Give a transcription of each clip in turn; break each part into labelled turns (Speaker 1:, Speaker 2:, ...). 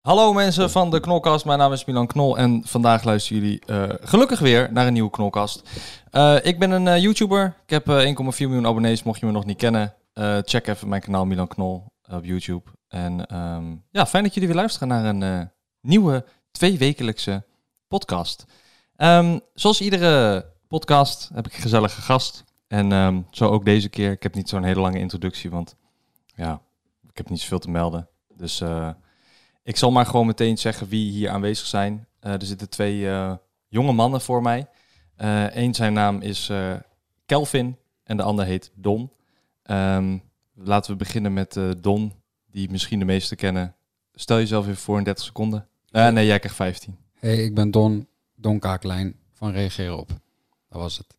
Speaker 1: Hallo mensen van de Knolkast, mijn naam is Milan Knol en vandaag luisteren jullie eh, gelukkig weer naar een nieuwe Knolkast. Eh, ik ben een eh, YouTuber, ik heb eh, 1,4 miljoen abonnees, mocht je me nog niet kennen. eh, check even mijn kanaal Milan Knol op YouTube. En ehm, ja, fijn dat jullie weer luisteren naar een eh, nieuwe tweewekelijkse podcast. Ehm, zoals iedere podcast heb ik een gezellige gast. En ehm, zo ook deze keer. Ik heb niet zo'n hele lange introductie, want ja, ik heb niet zoveel te melden. Dus... eh, ik zal maar gewoon meteen zeggen wie hier aanwezig zijn. Eh, er zitten twee eh, jonge mannen voor mij. Eén zijn naam is eh, Kelvin en de ander heet Don. Ehm, laten we beginnen met eh, Don, die misschien de meesten kennen. Stel jezelf even voor in 30 seconden. Eh, nee, jij krijgt 15.
Speaker 2: Hey, ik ben Don, Don Kaaklijn van Reageer op. Dat was het.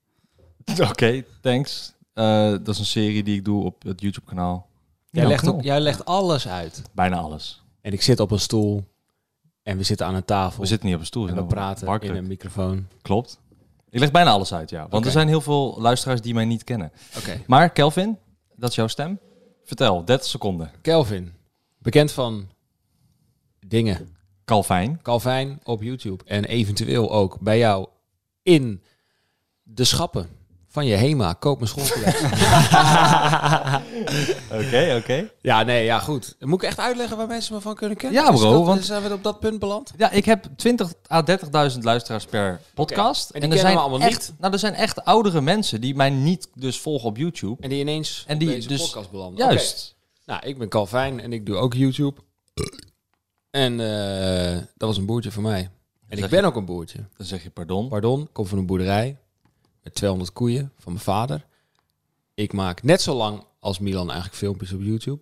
Speaker 1: Oké, thanks. Eh, dat is een serie die ik doe op het YouTube-kanaal.
Speaker 3: Jij
Speaker 1: Ja,
Speaker 3: legt,
Speaker 1: knol.
Speaker 3: ook- jij legt alles uit.
Speaker 1: Bijna alles.
Speaker 3: En ik zit op een stoel. En we zitten aan een tafel.
Speaker 1: We zitten niet op een stoel.
Speaker 3: en we
Speaker 1: zitten
Speaker 3: praten
Speaker 1: barkruk.
Speaker 3: in een microfoon.
Speaker 1: Klopt. Ik leg bijna alles uit, ja. Want
Speaker 3: Oké.
Speaker 1: er zijn heel veel luisteraars die mij niet kennen.
Speaker 3: Oké.
Speaker 1: Maar Kelvin, dat is jouw stem. Vertel, 30 seconden.
Speaker 3: Kelvin. Bekend van dingen.
Speaker 1: Calvin.
Speaker 3: Calvin op YouTube. En eventueel ook bij jou in de schappen van je HEMA. Koop mijn schoolplezier.
Speaker 1: Oké, oké.
Speaker 3: ja, nee, ja, goed. Moet ik echt uitleggen waar mensen me van kunnen kennen?
Speaker 1: Ja,
Speaker 3: Is
Speaker 1: bro,
Speaker 3: dat-
Speaker 1: want-
Speaker 3: Zijn we op dat punt beland?
Speaker 1: Ja, ik heb 20 à 30.000 luisteraars per podcast.
Speaker 3: En die kennen
Speaker 1: zijn
Speaker 3: we allemaal
Speaker 1: echt,
Speaker 3: niet.
Speaker 1: Nou, er zijn echt oudere mensen die mij niet dus volgen op YouTube.
Speaker 3: En die ineens
Speaker 1: En
Speaker 3: en
Speaker 1: die
Speaker 3: die, deze
Speaker 1: dus-
Speaker 3: podcast belanden. Oké.
Speaker 1: Juist.
Speaker 3: Nou, ik ben Calvin en ik doe ook YouTube. En eh, dat was een boertje voor mij. En
Speaker 1: Zeg
Speaker 3: ik ben ook een boertje.
Speaker 1: Dan zeg je pardon.
Speaker 3: Pardon, kom van een boerderij met 200 koeien van mijn vader. Ik maak net zo lang als Milan eigenlijk filmpjes op YouTube.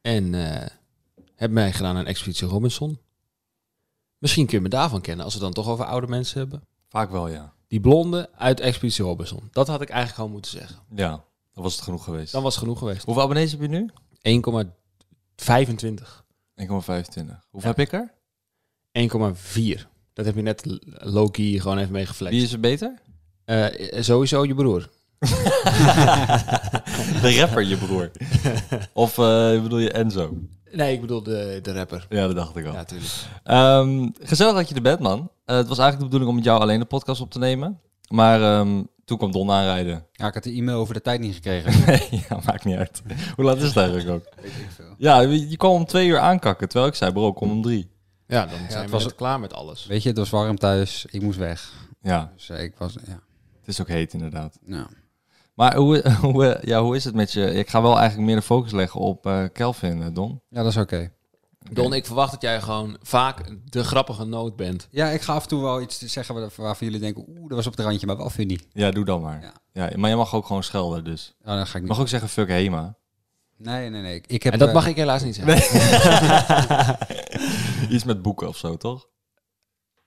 Speaker 3: En eh, heb meegedaan aan Expeditie Robinson. Misschien kun je me daarvan kennen, als we het dan toch over oude mensen hebben.
Speaker 1: Vaak wel, ja.
Speaker 3: Die blonde uit Expeditie Robinson. Dat had ik eigenlijk gewoon moeten zeggen.
Speaker 1: Ja, dan was het genoeg geweest.
Speaker 3: Dan was het genoeg geweest.
Speaker 1: Hoeveel abonnees heb je nu?
Speaker 3: 1,25.
Speaker 1: 1,25. Hoeveel heb ik er?
Speaker 3: 1,4. Dat heb je net l- low-key gewoon even meegeflext.
Speaker 1: Wie is er beter?
Speaker 3: Eh, sowieso je broer.
Speaker 1: De rapper, je broer. Of eh, bedoel je Enzo?
Speaker 3: Nee, ik bedoel de, de rapper.
Speaker 1: Ja, dat dacht ik al.
Speaker 3: Ja, natuurlijk.
Speaker 1: Ehm, gezellig dat je er bent, man. Eh, het was eigenlijk de bedoeling om met jou alleen de podcast op te nemen. Maar ehm, toen kwam Don aanrijden.
Speaker 2: Ja, ik had de e-mail over de tijd niet gekregen.
Speaker 1: ja, maakt niet uit. Hoe laat is het eigenlijk ook? Ja, je je kwam om twee uur aankakken. Terwijl ik zei, bro, kom om drie.
Speaker 3: Ja, dan zijn
Speaker 2: het
Speaker 3: we
Speaker 2: was-
Speaker 3: net klaar met alles.
Speaker 2: Weet je, het was warm thuis. Ik moest weg.
Speaker 1: Ja,
Speaker 2: Dus eh, ik was, ja.
Speaker 1: het is ook heet inderdaad.
Speaker 2: Nou,
Speaker 1: Maar hoe, hoe, eh, ja, hoe is het met je? Ik ga wel eigenlijk meer de focus leggen op eh, Kelvin, eh, Don.
Speaker 2: ja, dat is oké.
Speaker 3: Don, ik verwacht dat jij gewoon vaak de grappige noot bent.
Speaker 2: Ja, ik ga af en toe wel iets zeggen waar- waarvan jullie denken, oeh, dat was op het randje, maar wel funny.
Speaker 1: Ja, doe dan maar. Ja. maar je mag ook gewoon schelden, dus.
Speaker 2: Ja, dan ga ik
Speaker 1: Je
Speaker 2: niet.
Speaker 1: mag ook zeggen, fuck Hema.
Speaker 2: Nee, nee, nee. Ik heb,
Speaker 3: En dat
Speaker 2: eh,
Speaker 3: mag ik helaas niet zeggen.
Speaker 1: Iets met boeken of zo, toch?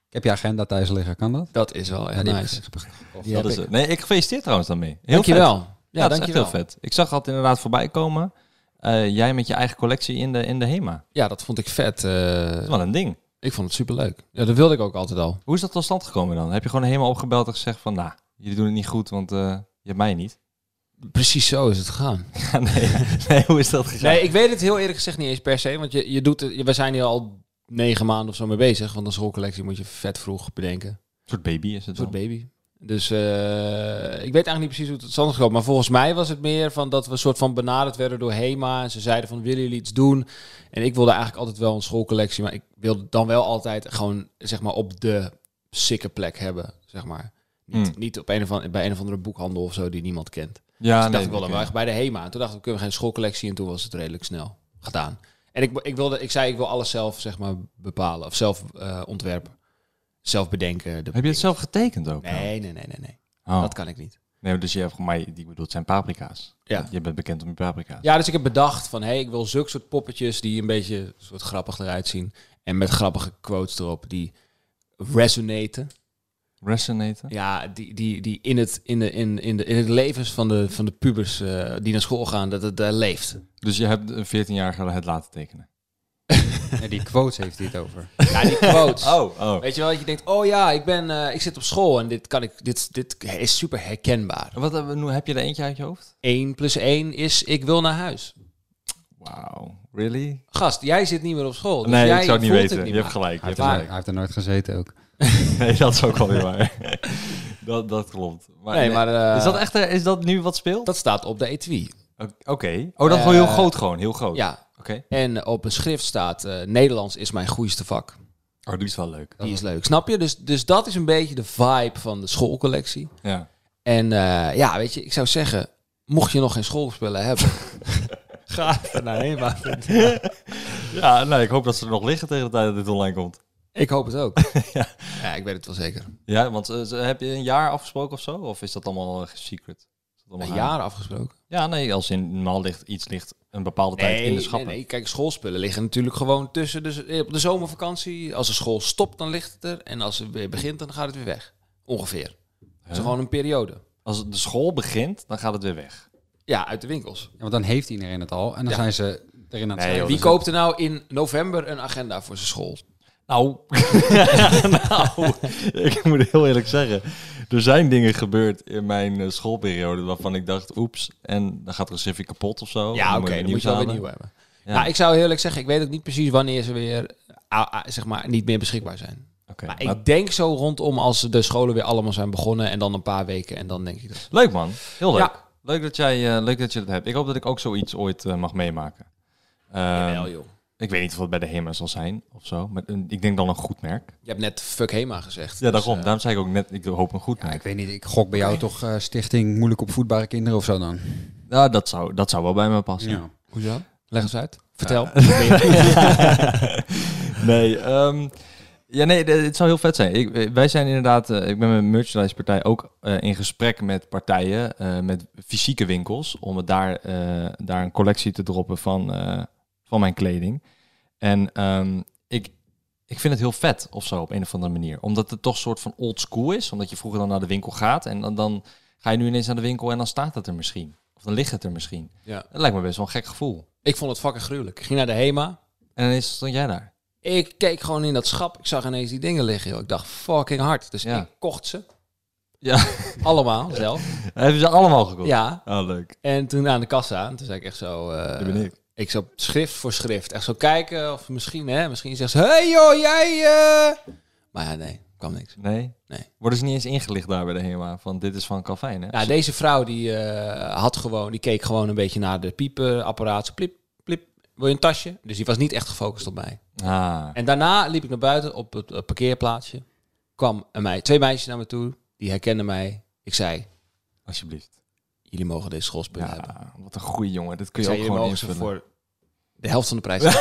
Speaker 2: ik heb je agenda thuis liggen, kan dat?
Speaker 3: Dat is wel
Speaker 2: Ja,
Speaker 3: echt
Speaker 2: die heb ik
Speaker 3: nice.
Speaker 2: gekocht.
Speaker 3: Die
Speaker 1: dat
Speaker 3: heb
Speaker 1: is
Speaker 3: ik.
Speaker 1: het. Nee, ik gefeliciteerd trouwens daarmee. Heel vet.
Speaker 3: Dankjewel.
Speaker 1: Ja,
Speaker 3: Ja,
Speaker 1: dat is echt
Speaker 3: dankjewel.
Speaker 1: heel vet. Ik zag dat inderdaad voorbij komen. Eh, jij met je eigen collectie in de, in de HEMA. Dat
Speaker 3: Ja, dat vond ik vet. eh,
Speaker 1: is wel een ding.
Speaker 3: ik vond het superleuk. Ja, dat wilde ik ook altijd al.
Speaker 1: Hoe is dat tot stand gekomen dan? Heb je gewoon helemaal opgebeld en gezegd van... Nou, jullie doen het niet goed, want eh, je hebt mij niet.
Speaker 3: Precies zo is het gegaan.
Speaker 1: Ja, nee, nee, hoe is dat gegaan?
Speaker 3: Nee, ik weet het heel eerlijk gezegd niet eens per se. Want je, je doet het, we zijn hier al negen maanden of zo mee bezig. Want een schoolcollectie moet je vet vroeg bedenken.
Speaker 1: Een soort baby is het
Speaker 3: Een soort
Speaker 1: dan.
Speaker 3: baby. Dus eh, ik weet eigenlijk niet precies hoe het tot stand is gekomen. Maar volgens mij was het meer van dat we soort van benaderd werden door HEMA. En ze zeiden van, willen jullie iets doen? En ik wilde eigenlijk altijd wel een schoolcollectie. Maar ik wilde dan wel altijd gewoon, zeg maar, op de sikke plek hebben, zeg maar. Niet,
Speaker 1: Hmm.
Speaker 3: niet op een of andere, bij een of andere boekhandel of zo die niemand kent.
Speaker 1: Ja,
Speaker 3: dus ik
Speaker 1: Ah, nee,
Speaker 3: dacht, ik wil
Speaker 1: oké.
Speaker 3: dan wel echt bij de HEMA. En toen dacht ik, kunnen we geen schoolcollectie? En toen was het redelijk snel gedaan. En ik, ik, wilde, ik zei, ik wil alles zelf, zeg maar, bepalen. Of zelf eh, ontwerpen. Zelf bedenken. de
Speaker 1: Heb je het zelf getekend ook?
Speaker 3: Nee, nee, nee, nee, nee.
Speaker 1: Oh.
Speaker 3: Dat kan ik niet.
Speaker 1: Nee, dus je hebt mij, die ik bedoel, het zijn paprika's.
Speaker 3: Ja.
Speaker 1: Je bent bekend om je paprika's.
Speaker 3: Ja, dus ik heb bedacht van, hé, hey, ik wil zulke soort poppetjes die een beetje soort grappig eruit zien. En met grappige quotes erop die resonaten.
Speaker 1: Resonaten.
Speaker 3: Ja, die, die, die in, het, in, de, in, in, de, in het levens van de, van de pubers eh, die naar school gaan, dat het daar leeft.
Speaker 1: Dus je hebt een 14-jarige het laten tekenen.
Speaker 2: Nee, die quotes heeft hij het over.
Speaker 3: Ja, die quotes.
Speaker 1: oh.
Speaker 3: Weet je wel, dat je denkt, oh ja, ik, ben, eh, ik zit op school en dit, kan ik, dit, dit is super herkenbaar.
Speaker 1: Wat, eh, nu heb je er eentje uit je hoofd?
Speaker 3: 1 plus 1 is, ik wil naar huis.
Speaker 1: Wauw. Really?
Speaker 3: Gast, jij zit niet meer op school. Dus
Speaker 1: nee,
Speaker 3: jij
Speaker 1: ik zou het niet
Speaker 3: voelt
Speaker 1: weten. je
Speaker 3: meer.
Speaker 1: hebt gelijk. Je
Speaker 2: Hij heeft,
Speaker 1: hebt
Speaker 2: er,
Speaker 3: Maar-
Speaker 2: nooit-
Speaker 1: gelijk.
Speaker 2: hij heeft er nooit gezeten ook.
Speaker 1: Nee, dat is ook wel weer waar. dat, dat klopt. Maar,
Speaker 3: Nee, maar eh,
Speaker 1: Is dat echt, eh, is dat nu wat speelt?
Speaker 3: dat staat op de E etui.
Speaker 1: Oké. Oh, dat is wel heel
Speaker 3: Eh,
Speaker 1: groot gewoon. Heel groot.
Speaker 3: Ja,
Speaker 1: Oké.
Speaker 3: en op een schrift staat, eh, Nederlands is mijn goeieste vak.
Speaker 1: Oh, die is wel leuk.
Speaker 3: Die is leuk, snap je? Dus, dus dat is een beetje de vibe van de schoolcollectie.
Speaker 1: Ja.
Speaker 3: En eh, ja, weet je, ik zou zeggen, mocht je nog geen schoolspullen hebben... Ga er naar heen, maar...
Speaker 1: Ja, nou, ik hoop dat ze er nog liggen tegen de tijd dat dit online komt.
Speaker 3: Ik hoop het ook. ja, ik weet het wel zeker.
Speaker 1: Ja, want eh, ze- heb je een jaar afgesproken of zo? Of is dat allemaal eh, secret? Is dat allemaal
Speaker 3: Een
Speaker 1: geheim?
Speaker 3: jaar afgesproken.
Speaker 1: Ja, nee, als in normaal ligt iets ligt een bepaalde tijd in de schappen.
Speaker 3: nee, nee. Kijk, schoolspullen liggen natuurlijk gewoon tussen. Dus op de zomervakantie, als de school stopt, dan ligt het er. En als het weer begint, dan gaat het weer weg. Ongeveer. Het is gewoon een periode.
Speaker 1: Als de school begint, dan gaat het weer weg.
Speaker 3: Ja, uit de winkels.
Speaker 2: Ja, want dan heeft iedereen het al en dan
Speaker 3: Ja.
Speaker 2: zijn ze erin
Speaker 1: Nee,
Speaker 2: aan het
Speaker 1: joh,
Speaker 2: schrijven.
Speaker 1: dat
Speaker 3: Wie
Speaker 1: is-
Speaker 3: koopt er nou in november een agenda voor zijn school?
Speaker 1: Nou. nou, ik moet heel eerlijk zeggen. Er zijn dingen gebeurd in mijn eh, schoolperiode waarvan ik dacht, oeps, en dan gaat er een Civic kapot of zo.
Speaker 3: Ja, oké,
Speaker 1: weer
Speaker 3: dan moet
Speaker 1: nieuws
Speaker 3: je wel weer
Speaker 1: halen.
Speaker 3: nieuw hebben.
Speaker 1: Ja.
Speaker 3: Nou, ik zou heel eerlijk zeggen, ik weet ook niet precies wanneer ze weer, ah, ah, zeg maar, niet meer beschikbaar zijn.
Speaker 1: Oké,
Speaker 3: Maar
Speaker 1: maar-
Speaker 3: ik denk zo rondom als de scholen weer allemaal zijn begonnen en dan een paar weken en dan denk ik dat.
Speaker 1: Leuk man, heel leuk.
Speaker 3: Ja.
Speaker 1: Leuk, dat jij, eh, leuk dat je dat hebt. Ik hoop dat ik ook zoiets ooit eh, mag meemaken. Ehm,
Speaker 3: Jawel, joh.
Speaker 1: ik weet niet of het bij de HEMA zal zijn of zo. Maar een- ik denk dan een goed merk.
Speaker 3: Je hebt net fuck Hema gezegd.
Speaker 1: Ja,
Speaker 3: dus,
Speaker 1: daarom.
Speaker 3: eh,
Speaker 1: Daarom zei ik ook net, ik hoop een goed
Speaker 2: Ja, ik
Speaker 1: merk.
Speaker 2: weet niet, ik gok bij jou toch eh, stichting moeilijk opvoedbare kinderen of zo dan.
Speaker 1: Nou, dat zou, dat zou wel bij me passen.
Speaker 2: Ja.
Speaker 3: Hoezo? eh, Leg eens uit. Vertel.
Speaker 1: nee, ehm, ja, nee, de- het zou heel vet zijn. Ik, eh, wij zijn inderdaad, eh, ik ben met een merchandisepartij ook eh, in gesprek met partijen, eh, met fysieke winkels, om het daar, eh, daar een collectie te droppen van, eh, van mijn kleding. En ehm, ik, ik vind het heel vet of zo op een of andere manier. Omdat het toch een soort van old school is, omdat je vroeger dan naar de winkel gaat en dan, dan ga je nu ineens naar de winkel en dan staat het er misschien. Of dan ligt het er misschien.
Speaker 3: Ja.
Speaker 1: Dat lijkt me best wel een gek gevoel.
Speaker 3: Ik vond het fucking gruwelijk. Ik ging naar de HEMA.
Speaker 1: En ineens stond jij daar.
Speaker 3: Ik keek gewoon in dat schap. Ik zag ineens die dingen liggen. Joh. Ik dacht fucking hard. Dus
Speaker 1: Ja.
Speaker 3: ik kocht ze.
Speaker 1: Ja.
Speaker 3: Allemaal zelf.
Speaker 1: Hebben ze allemaal gekocht?
Speaker 3: Ja.
Speaker 1: Oh, leuk.
Speaker 3: En toen aan de kassa. En toen zei ik echt zo... eh, ik zo schrift voor schrift. Echt zo kijken. Of misschien, hè. Misschien zegt ze... hey joh, jij... eh." Maar ja, nee. Kwam niks.
Speaker 1: Nee?
Speaker 3: Nee.
Speaker 1: Worden ze niet eens ingelicht daar bij de HEMA? Van dit is van Calvin, hè?
Speaker 3: Ja, deze vrouw die eh, had gewoon... Die keek gewoon een beetje naar de piepenapparaat. Zo Plip, plip. Wil je een tasje? Dus die was niet echt gefocust op mij.
Speaker 1: Ah.
Speaker 3: En daarna liep ik naar buiten op het eh, parkeerplaatsje. Kwam een mei- twee meisjes naar me toe. Die herkenden mij. Ik zei,
Speaker 1: Alsjeblieft.
Speaker 3: jullie mogen deze schoolspullen hebben.
Speaker 1: Ja, wat een goeie jongen. Dit kun
Speaker 3: Ik
Speaker 1: je
Speaker 3: zei,
Speaker 1: ook
Speaker 3: jullie
Speaker 1: gewoon
Speaker 3: mogen ze
Speaker 1: invullen.
Speaker 3: voor de helft van de prijs.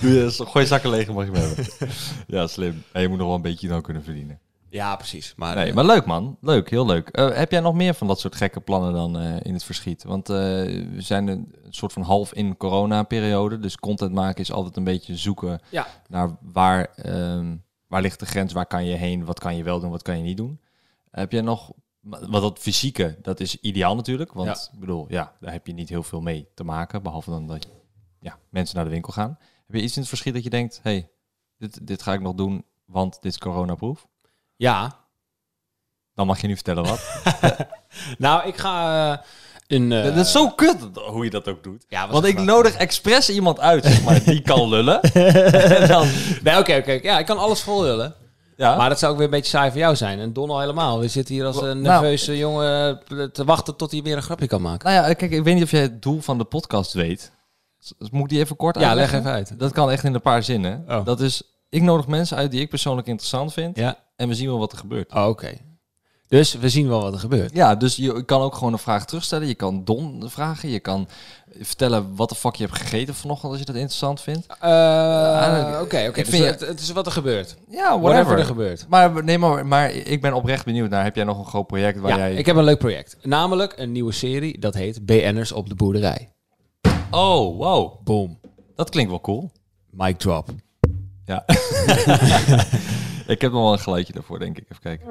Speaker 1: Doe je, gooi zakken leeg, mag je hem hebben. ja, slim. En je moet nog wel een beetje dan kunnen verdienen.
Speaker 3: ja, precies. Maar,
Speaker 1: Ah, Nee,
Speaker 3: eh,
Speaker 1: maar leuk man. Leuk, heel leuk. Eh, heb jij nog meer van dat soort gekke plannen dan eh, in het verschiet? Want eh, we zijn een soort van half in corona-periode. Dus content maken is altijd een beetje zoeken
Speaker 3: Ja.
Speaker 1: naar waar, ehm, waar ligt de grens, waar kan je heen, wat kan je wel doen, wat kan je niet doen. Heb jij nog, want dat fysieke, dat is ideaal natuurlijk. Want ik bedoel, ja, daar heb je niet heel veel mee te maken. Behalve dan dat ja, mensen naar de winkel gaan. Heb je iets in het verschiet dat je denkt, hey, dit, dit ga ik nog doen, want dit is coronaproof?
Speaker 3: ja.
Speaker 1: Dan mag je nu vertellen wat.
Speaker 3: Nou, ik ga eh, een... eh,
Speaker 1: dat is zo kut dat- hoe je dat ook doet.
Speaker 3: Ja, was
Speaker 1: Want
Speaker 3: een
Speaker 1: ik
Speaker 3: grap.
Speaker 1: nodig expres iemand uit, zeg maar, die kan lullen. En dan,
Speaker 3: Nee, oké, oké. Ja, ik kan alles volhullen.
Speaker 1: ja.
Speaker 3: Maar dat zou ook weer een beetje saai voor jou zijn. En Don al helemaal. We zitten hier als
Speaker 1: Nou.
Speaker 3: een nerveuze jongen eh, te wachten tot hij weer een grapje kan maken.
Speaker 1: Nou ja, kijk, ik weet niet of jij het doel van de podcast weet. Dus- dus Moet ik die even kort
Speaker 3: Ja, leg
Speaker 1: uitleggen?
Speaker 3: even uit.
Speaker 1: Dat kan echt in een paar zinnen.
Speaker 3: Oh.
Speaker 1: Dat is, ik nodig mensen uit die ik persoonlijk interessant vind.
Speaker 3: Ja.
Speaker 1: En we zien wel wat er gebeurt.
Speaker 3: Oh, oké. Dus we zien wel wat er gebeurt.
Speaker 1: Ja, dus je kan ook gewoon een vraag terugstellen. Je kan Don vragen. Je kan vertellen wat de fuck je hebt gegeten vanochtend als je dat interessant vindt.
Speaker 3: Eh, Oké, oké.
Speaker 1: ik
Speaker 3: dus
Speaker 1: vind je-
Speaker 3: het, het is wat er gebeurt.
Speaker 1: Ja,
Speaker 3: Whatever
Speaker 1: whatever.
Speaker 3: er gebeurt.
Speaker 1: Maar, nee, maar, maar ik ben oprecht benieuwd naar. Heb jij nog een groot project waar
Speaker 3: Ja,
Speaker 1: jij...
Speaker 3: ik heb een leuk project. Namelijk een nieuwe serie, dat heet BN'ers op de boerderij.
Speaker 1: Oh, wow.
Speaker 3: Boom.
Speaker 1: Dat klinkt wel cool.
Speaker 3: Mic drop.
Speaker 1: Ja. ik heb nog wel een geluidje daarvoor, denk ik. Even kijken.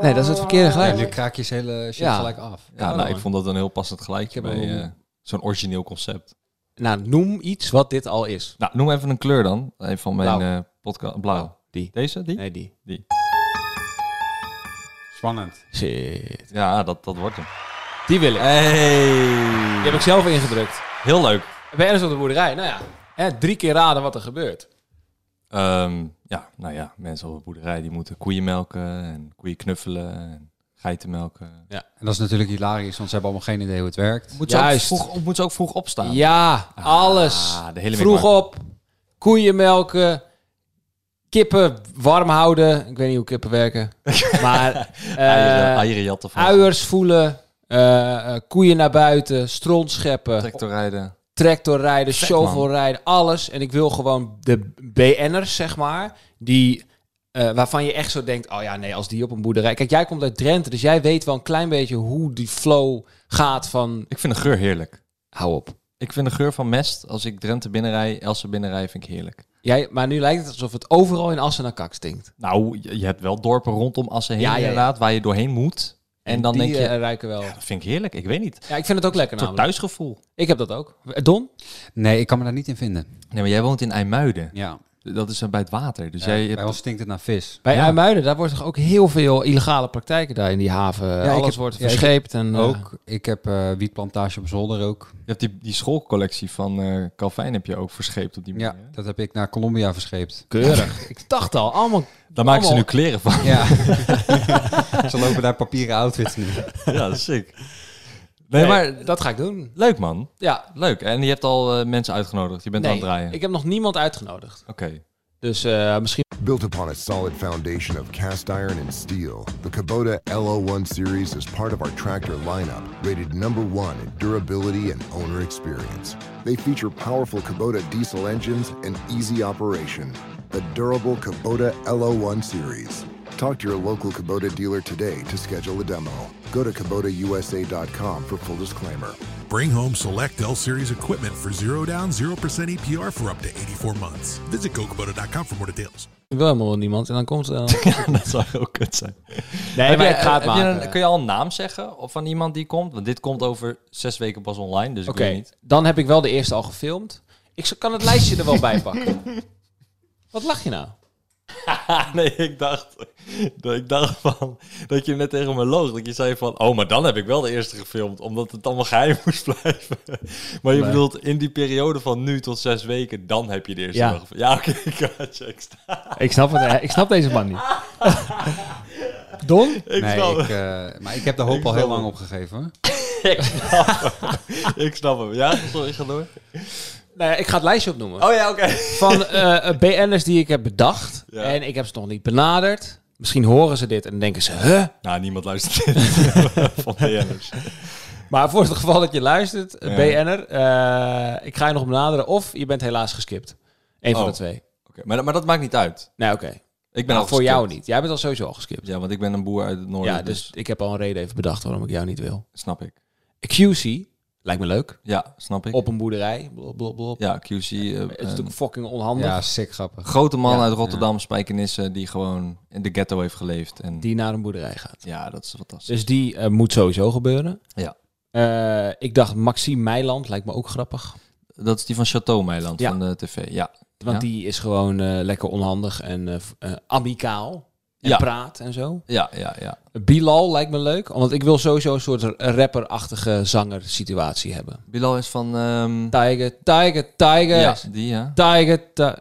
Speaker 3: Nee, dat is het verkeerde
Speaker 2: Ja,
Speaker 3: geluid.
Speaker 2: nu kraak je ze hele shit
Speaker 3: Ja.
Speaker 2: gelijk af.
Speaker 1: Ja, nou, ik vond dat een heel passend geluidje
Speaker 3: Ik heb
Speaker 1: bij
Speaker 3: wel-
Speaker 1: eh, zo'n origineel concept.
Speaker 3: Nou, noem iets wat dit al is.
Speaker 1: Nou, noem even een kleur dan. Een van mijn
Speaker 3: Blauw.
Speaker 1: podcast. Blauw.
Speaker 3: Die.
Speaker 1: Deze? Die?
Speaker 3: Nee, die.
Speaker 2: Spannend.
Speaker 3: Shit.
Speaker 1: Ja, dat, dat wordt hem.
Speaker 3: Die wil ik. Die
Speaker 1: Hey.
Speaker 3: heb ik zelf ingedrukt.
Speaker 1: Heel leuk.
Speaker 3: BN'ers op de boerderij, nou ja. Hè, drie keer raden wat er gebeurt.
Speaker 1: Ehm, ja, nou ja, mensen op een boerderij die moeten koeien melken en koeien knuffelen en geiten melken.
Speaker 2: En dat is natuurlijk hilarisch, want ze hebben allemaal geen idee hoe het werkt.
Speaker 1: Moet
Speaker 3: ze ook
Speaker 1: vroeg, moet ze ook vroeg opstaan?
Speaker 3: Ja, alles.
Speaker 1: Ah, de hele
Speaker 3: Vroeg
Speaker 1: mikmak.
Speaker 3: op, koeien melken, kippen warm houden. Ik weet niet hoe kippen werken.
Speaker 1: Ah,
Speaker 3: Maar
Speaker 1: Eieren,
Speaker 3: eh
Speaker 1: eieren jatten van
Speaker 3: uiers voelen, eh, eh, koeien naar buiten, stront scheppen,
Speaker 1: tractor rijden.
Speaker 3: tractor rijden,
Speaker 1: Vet,
Speaker 3: shovel rijden, alles. En ik wil gewoon de BN'ers, zeg maar, die... eh, waarvan je echt zo denkt, oh ja, nee, als die op een boerderij... Kijk, jij komt uit Drenthe, dus jij weet wel een klein beetje hoe die flow gaat van...
Speaker 1: Ik vind de geur heerlijk.
Speaker 3: Hou op.
Speaker 1: Ik vind de geur van mest, als ik Drenthe binnenrij, Elsen binnenrij, vind ik heerlijk.
Speaker 3: Jij, maar nu lijkt het alsof het overal in Assen naar kak stinkt.
Speaker 1: Nou, je, je hebt wel dorpen rondom Assen heen
Speaker 3: Ja, ja, ja.
Speaker 1: inderdaad, waar je doorheen moet. En, dan
Speaker 3: Die,
Speaker 1: denk je,
Speaker 3: eh, ruiken wel.
Speaker 1: dat vind ik heerlijk, ik weet niet. Een
Speaker 3: Ja, ik vind het ook lekker
Speaker 1: soort
Speaker 3: namelijk.
Speaker 1: thuisgevoel.
Speaker 3: Ik heb dat ook. Don?
Speaker 2: Nee, ik kan me daar niet in vinden.
Speaker 1: Nee, maar jij woont in IJmuiden.
Speaker 2: Ja.
Speaker 1: Dat is eh, bij het water. Dus jij hebt
Speaker 2: Bij ons stinkt het naar vis.
Speaker 3: Bij
Speaker 1: Ja.
Speaker 3: IJmuiden, daar wordt toch ook heel veel illegale praktijken daar in die haven.
Speaker 2: ik
Speaker 3: Alles
Speaker 2: heb-
Speaker 3: wordt
Speaker 2: ja, ik-
Speaker 3: verscheept en... eh,
Speaker 2: Ook, ik heb eh, wietplantage op zolder ook.
Speaker 1: Je hebt die, die schoolcollectie van eh Calvin heb je ook verscheept op die manier.
Speaker 2: Ja,
Speaker 1: hè?
Speaker 2: dat heb ik naar Colombia verscheept.
Speaker 3: keurig. ik dacht al, allemaal...
Speaker 1: Daar maken ze nu
Speaker 3: Allemaal.
Speaker 1: kleren van.
Speaker 2: Ja. Ze lopen daar papieren outfits nu.
Speaker 1: ja, dat is sick. Nee, maar
Speaker 3: maar dat ga ik doen.
Speaker 1: leuk man.
Speaker 3: Ja.
Speaker 1: Leuk. En je hebt al eh, mensen uitgenodigd. Je bent
Speaker 3: nee,
Speaker 1: aan het draaien.
Speaker 3: ik heb nog niemand uitgenodigd.
Speaker 1: Oké.
Speaker 3: Dus eh, misschien...
Speaker 4: Built upon a solid foundation of cast iron and steel, the Kubota LO1 series is part of our tractor lineup, rated number one in durability and owner experience. They feature powerful Kubota diesel engines and easy operation. The durable Kubota LO1 series. Talk to your local Kubota dealer today to schedule a demo. Go to KubotaUSA.com for full disclaimer.
Speaker 5: Bring home select L Series equipment for zero down, 0% APR for up to 84 months. Visit gokubota.com for more details.
Speaker 3: Ik wil helemaal niemand en dan komt... eh,
Speaker 1: dat zou heel kut zijn.
Speaker 3: nee, maar ik ga het
Speaker 1: heb je
Speaker 3: maken.
Speaker 1: een- kun je al een naam zeggen of van iemand die komt? Want dit komt over zes weken pas online, dus
Speaker 3: Oké,
Speaker 1: ik weet niet.
Speaker 3: dan heb ik wel de eerste al gefilmd. Ik kan het lijstje er wel bij pakken. Wat lach je nou?
Speaker 1: Ah, nee, ik dacht, dat ik dacht van, dat je net tegen me loog. Dat je zei van, oh, maar dan heb ik wel de eerste gefilmd. Omdat het allemaal geheim moest blijven. Maar je bedoelt, in die periode van nu tot zes weken, dan heb je de eerste
Speaker 3: Ja.
Speaker 1: nog gefilmd. Ja, oké, ik had je, ik sta-
Speaker 3: Ik snap, het, eh, ik snap deze man niet. Don?
Speaker 1: ik
Speaker 2: nee,
Speaker 1: snap
Speaker 2: ik, eh, maar ik heb de hoop
Speaker 1: Ik
Speaker 2: al heel
Speaker 1: snap
Speaker 2: lang
Speaker 1: het.
Speaker 2: opgegeven. hoor.
Speaker 1: hem. Ik snap hem. ik snap hem. Ja, sorry, ga door.
Speaker 3: Nee, ik ga het lijstje opnoemen.
Speaker 1: Oh ja, oké.
Speaker 3: Van eh, eh, BN'ers die ik heb bedacht.
Speaker 1: Ja.
Speaker 3: En ik heb ze nog niet benaderd. Misschien horen ze dit en denken ze, huh?
Speaker 1: Nou, niemand luistert dit. van BN'ers.
Speaker 3: Maar voor het geval dat je luistert,
Speaker 1: Ja.
Speaker 3: BN'er, eh, ik ga je nog benaderen. Of je bent helaas geskipt. Eén van
Speaker 1: Oh.
Speaker 3: de twee.
Speaker 1: Oké, maar, maar dat maakt niet uit.
Speaker 3: Nee, oké.
Speaker 1: Ik ben
Speaker 3: Nou,
Speaker 1: al
Speaker 3: voor jou
Speaker 1: geskipt.
Speaker 3: niet. Jij bent al sowieso al geskipt.
Speaker 1: Ja, want ik ben een boer uit het noorden,
Speaker 3: Ja, dus ik heb al een reden even bedacht waarom ik jou niet wil.
Speaker 1: dus snap ik.
Speaker 3: QC, lijkt me leuk.
Speaker 1: Ja, snap ik.
Speaker 3: Op een boerderij, blop, blop, blop.
Speaker 1: Ja, QC. eh,
Speaker 3: Het is
Speaker 1: eh,
Speaker 3: natuurlijk fucking onhandig.
Speaker 2: Ja, sick grappig.
Speaker 1: grote man uit Rotterdam, Spijkenisse, die gewoon in de ghetto heeft geleefd. En
Speaker 3: Die naar een boerderij gaat.
Speaker 1: ja, dat is fantastisch.
Speaker 3: Dus die eh, moet sowieso gebeuren.
Speaker 1: ja.
Speaker 3: Eh, ik dacht Maxime Meiland, lijkt me ook grappig.
Speaker 1: Dat is die van Chateau Meiland
Speaker 3: Ja.
Speaker 1: van de tv. Ja.
Speaker 3: Want
Speaker 1: ja.
Speaker 3: die is gewoon eh, lekker onhandig en eh, v- eh, amicaal. En
Speaker 1: Ja.
Speaker 3: praat en zo.
Speaker 1: Ja, ja, ja.
Speaker 3: Bilal lijkt me leuk. Want ik wil sowieso een soort r- rapperachtige zanger situatie hebben.
Speaker 1: Bilal is van. ehm,
Speaker 3: Tiger, tiger, tiger.
Speaker 1: ja, die ja.
Speaker 3: Tiger, ti-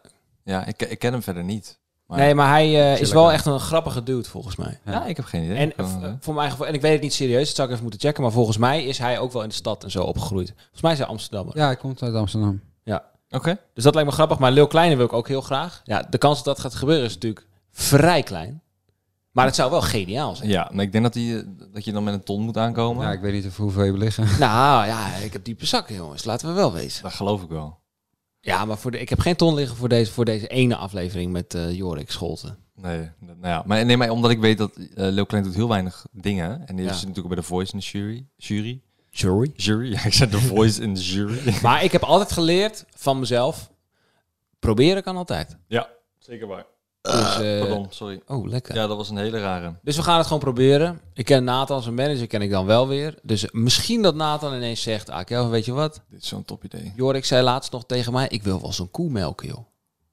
Speaker 1: Ja, ik, ik ken hem verder niet. Maar,
Speaker 3: Nee, maar hij eh, is
Speaker 2: Chillen
Speaker 3: wel
Speaker 2: kan.
Speaker 3: echt een grappige dude volgens mij.
Speaker 1: ja. ik heb geen idee.
Speaker 3: En
Speaker 1: Ik kan,
Speaker 3: eh, v-
Speaker 1: eh,
Speaker 3: voor mijn gevoel, en ik weet het niet serieus, dat zou ik even moeten checken. Maar volgens mij is hij ook wel in de stad en zo opgegroeid. Volgens mij is hij Amsterdammer.
Speaker 2: Ja, hij komt uit Amsterdam.
Speaker 3: Ja.
Speaker 1: Oké.
Speaker 3: Dus dat lijkt me grappig. Maar Lil Kleine wil ik ook heel graag. Ja, de kans dat dat gaat gebeuren is natuurlijk vrij klein. Maar het zou wel geniaal zijn.
Speaker 1: Ja, maar ik denk dat, die, eh, dat je dan met een ton moet aankomen.
Speaker 2: Ja, ik weet niet of hoeveel je liggen.
Speaker 3: Nou ja, ik heb diepe zakken, jongens. Laten we wel wezen.
Speaker 1: Dat geloof ik wel.
Speaker 3: Ja, maar voor de, ik heb geen ton liggen voor deze, voor deze ene aflevering met eh, Jorik Scholten.
Speaker 1: Nee, dat- nou ja. Maar, nee, maar omdat ik weet dat eh Leo Klein doet heel weinig dingen. En die
Speaker 3: Ja.
Speaker 1: zit natuurlijk bij de Voice in de jury. Jury?
Speaker 3: Jury.
Speaker 1: Jury? Ja, ik zei de Voice in de jury.
Speaker 3: Maar ik heb altijd geleerd van mezelf. Proberen kan altijd.
Speaker 1: ja, zeker waar.
Speaker 3: Dus, eh,
Speaker 1: Pardon, sorry.
Speaker 3: oh, lekker.
Speaker 1: Ja, dat was een hele rare.
Speaker 3: Dus we gaan het gewoon proberen. Ik ken Nathan, zijn manager ken ik dan wel weer. Dus misschien dat Nathan ineens zegt... Ah, Kelvin, weet je wat?
Speaker 1: Dit is zo'n top idee.
Speaker 3: Jorik zei laatst nog tegen mij... Ik wil wel zo'n koe melken, joh.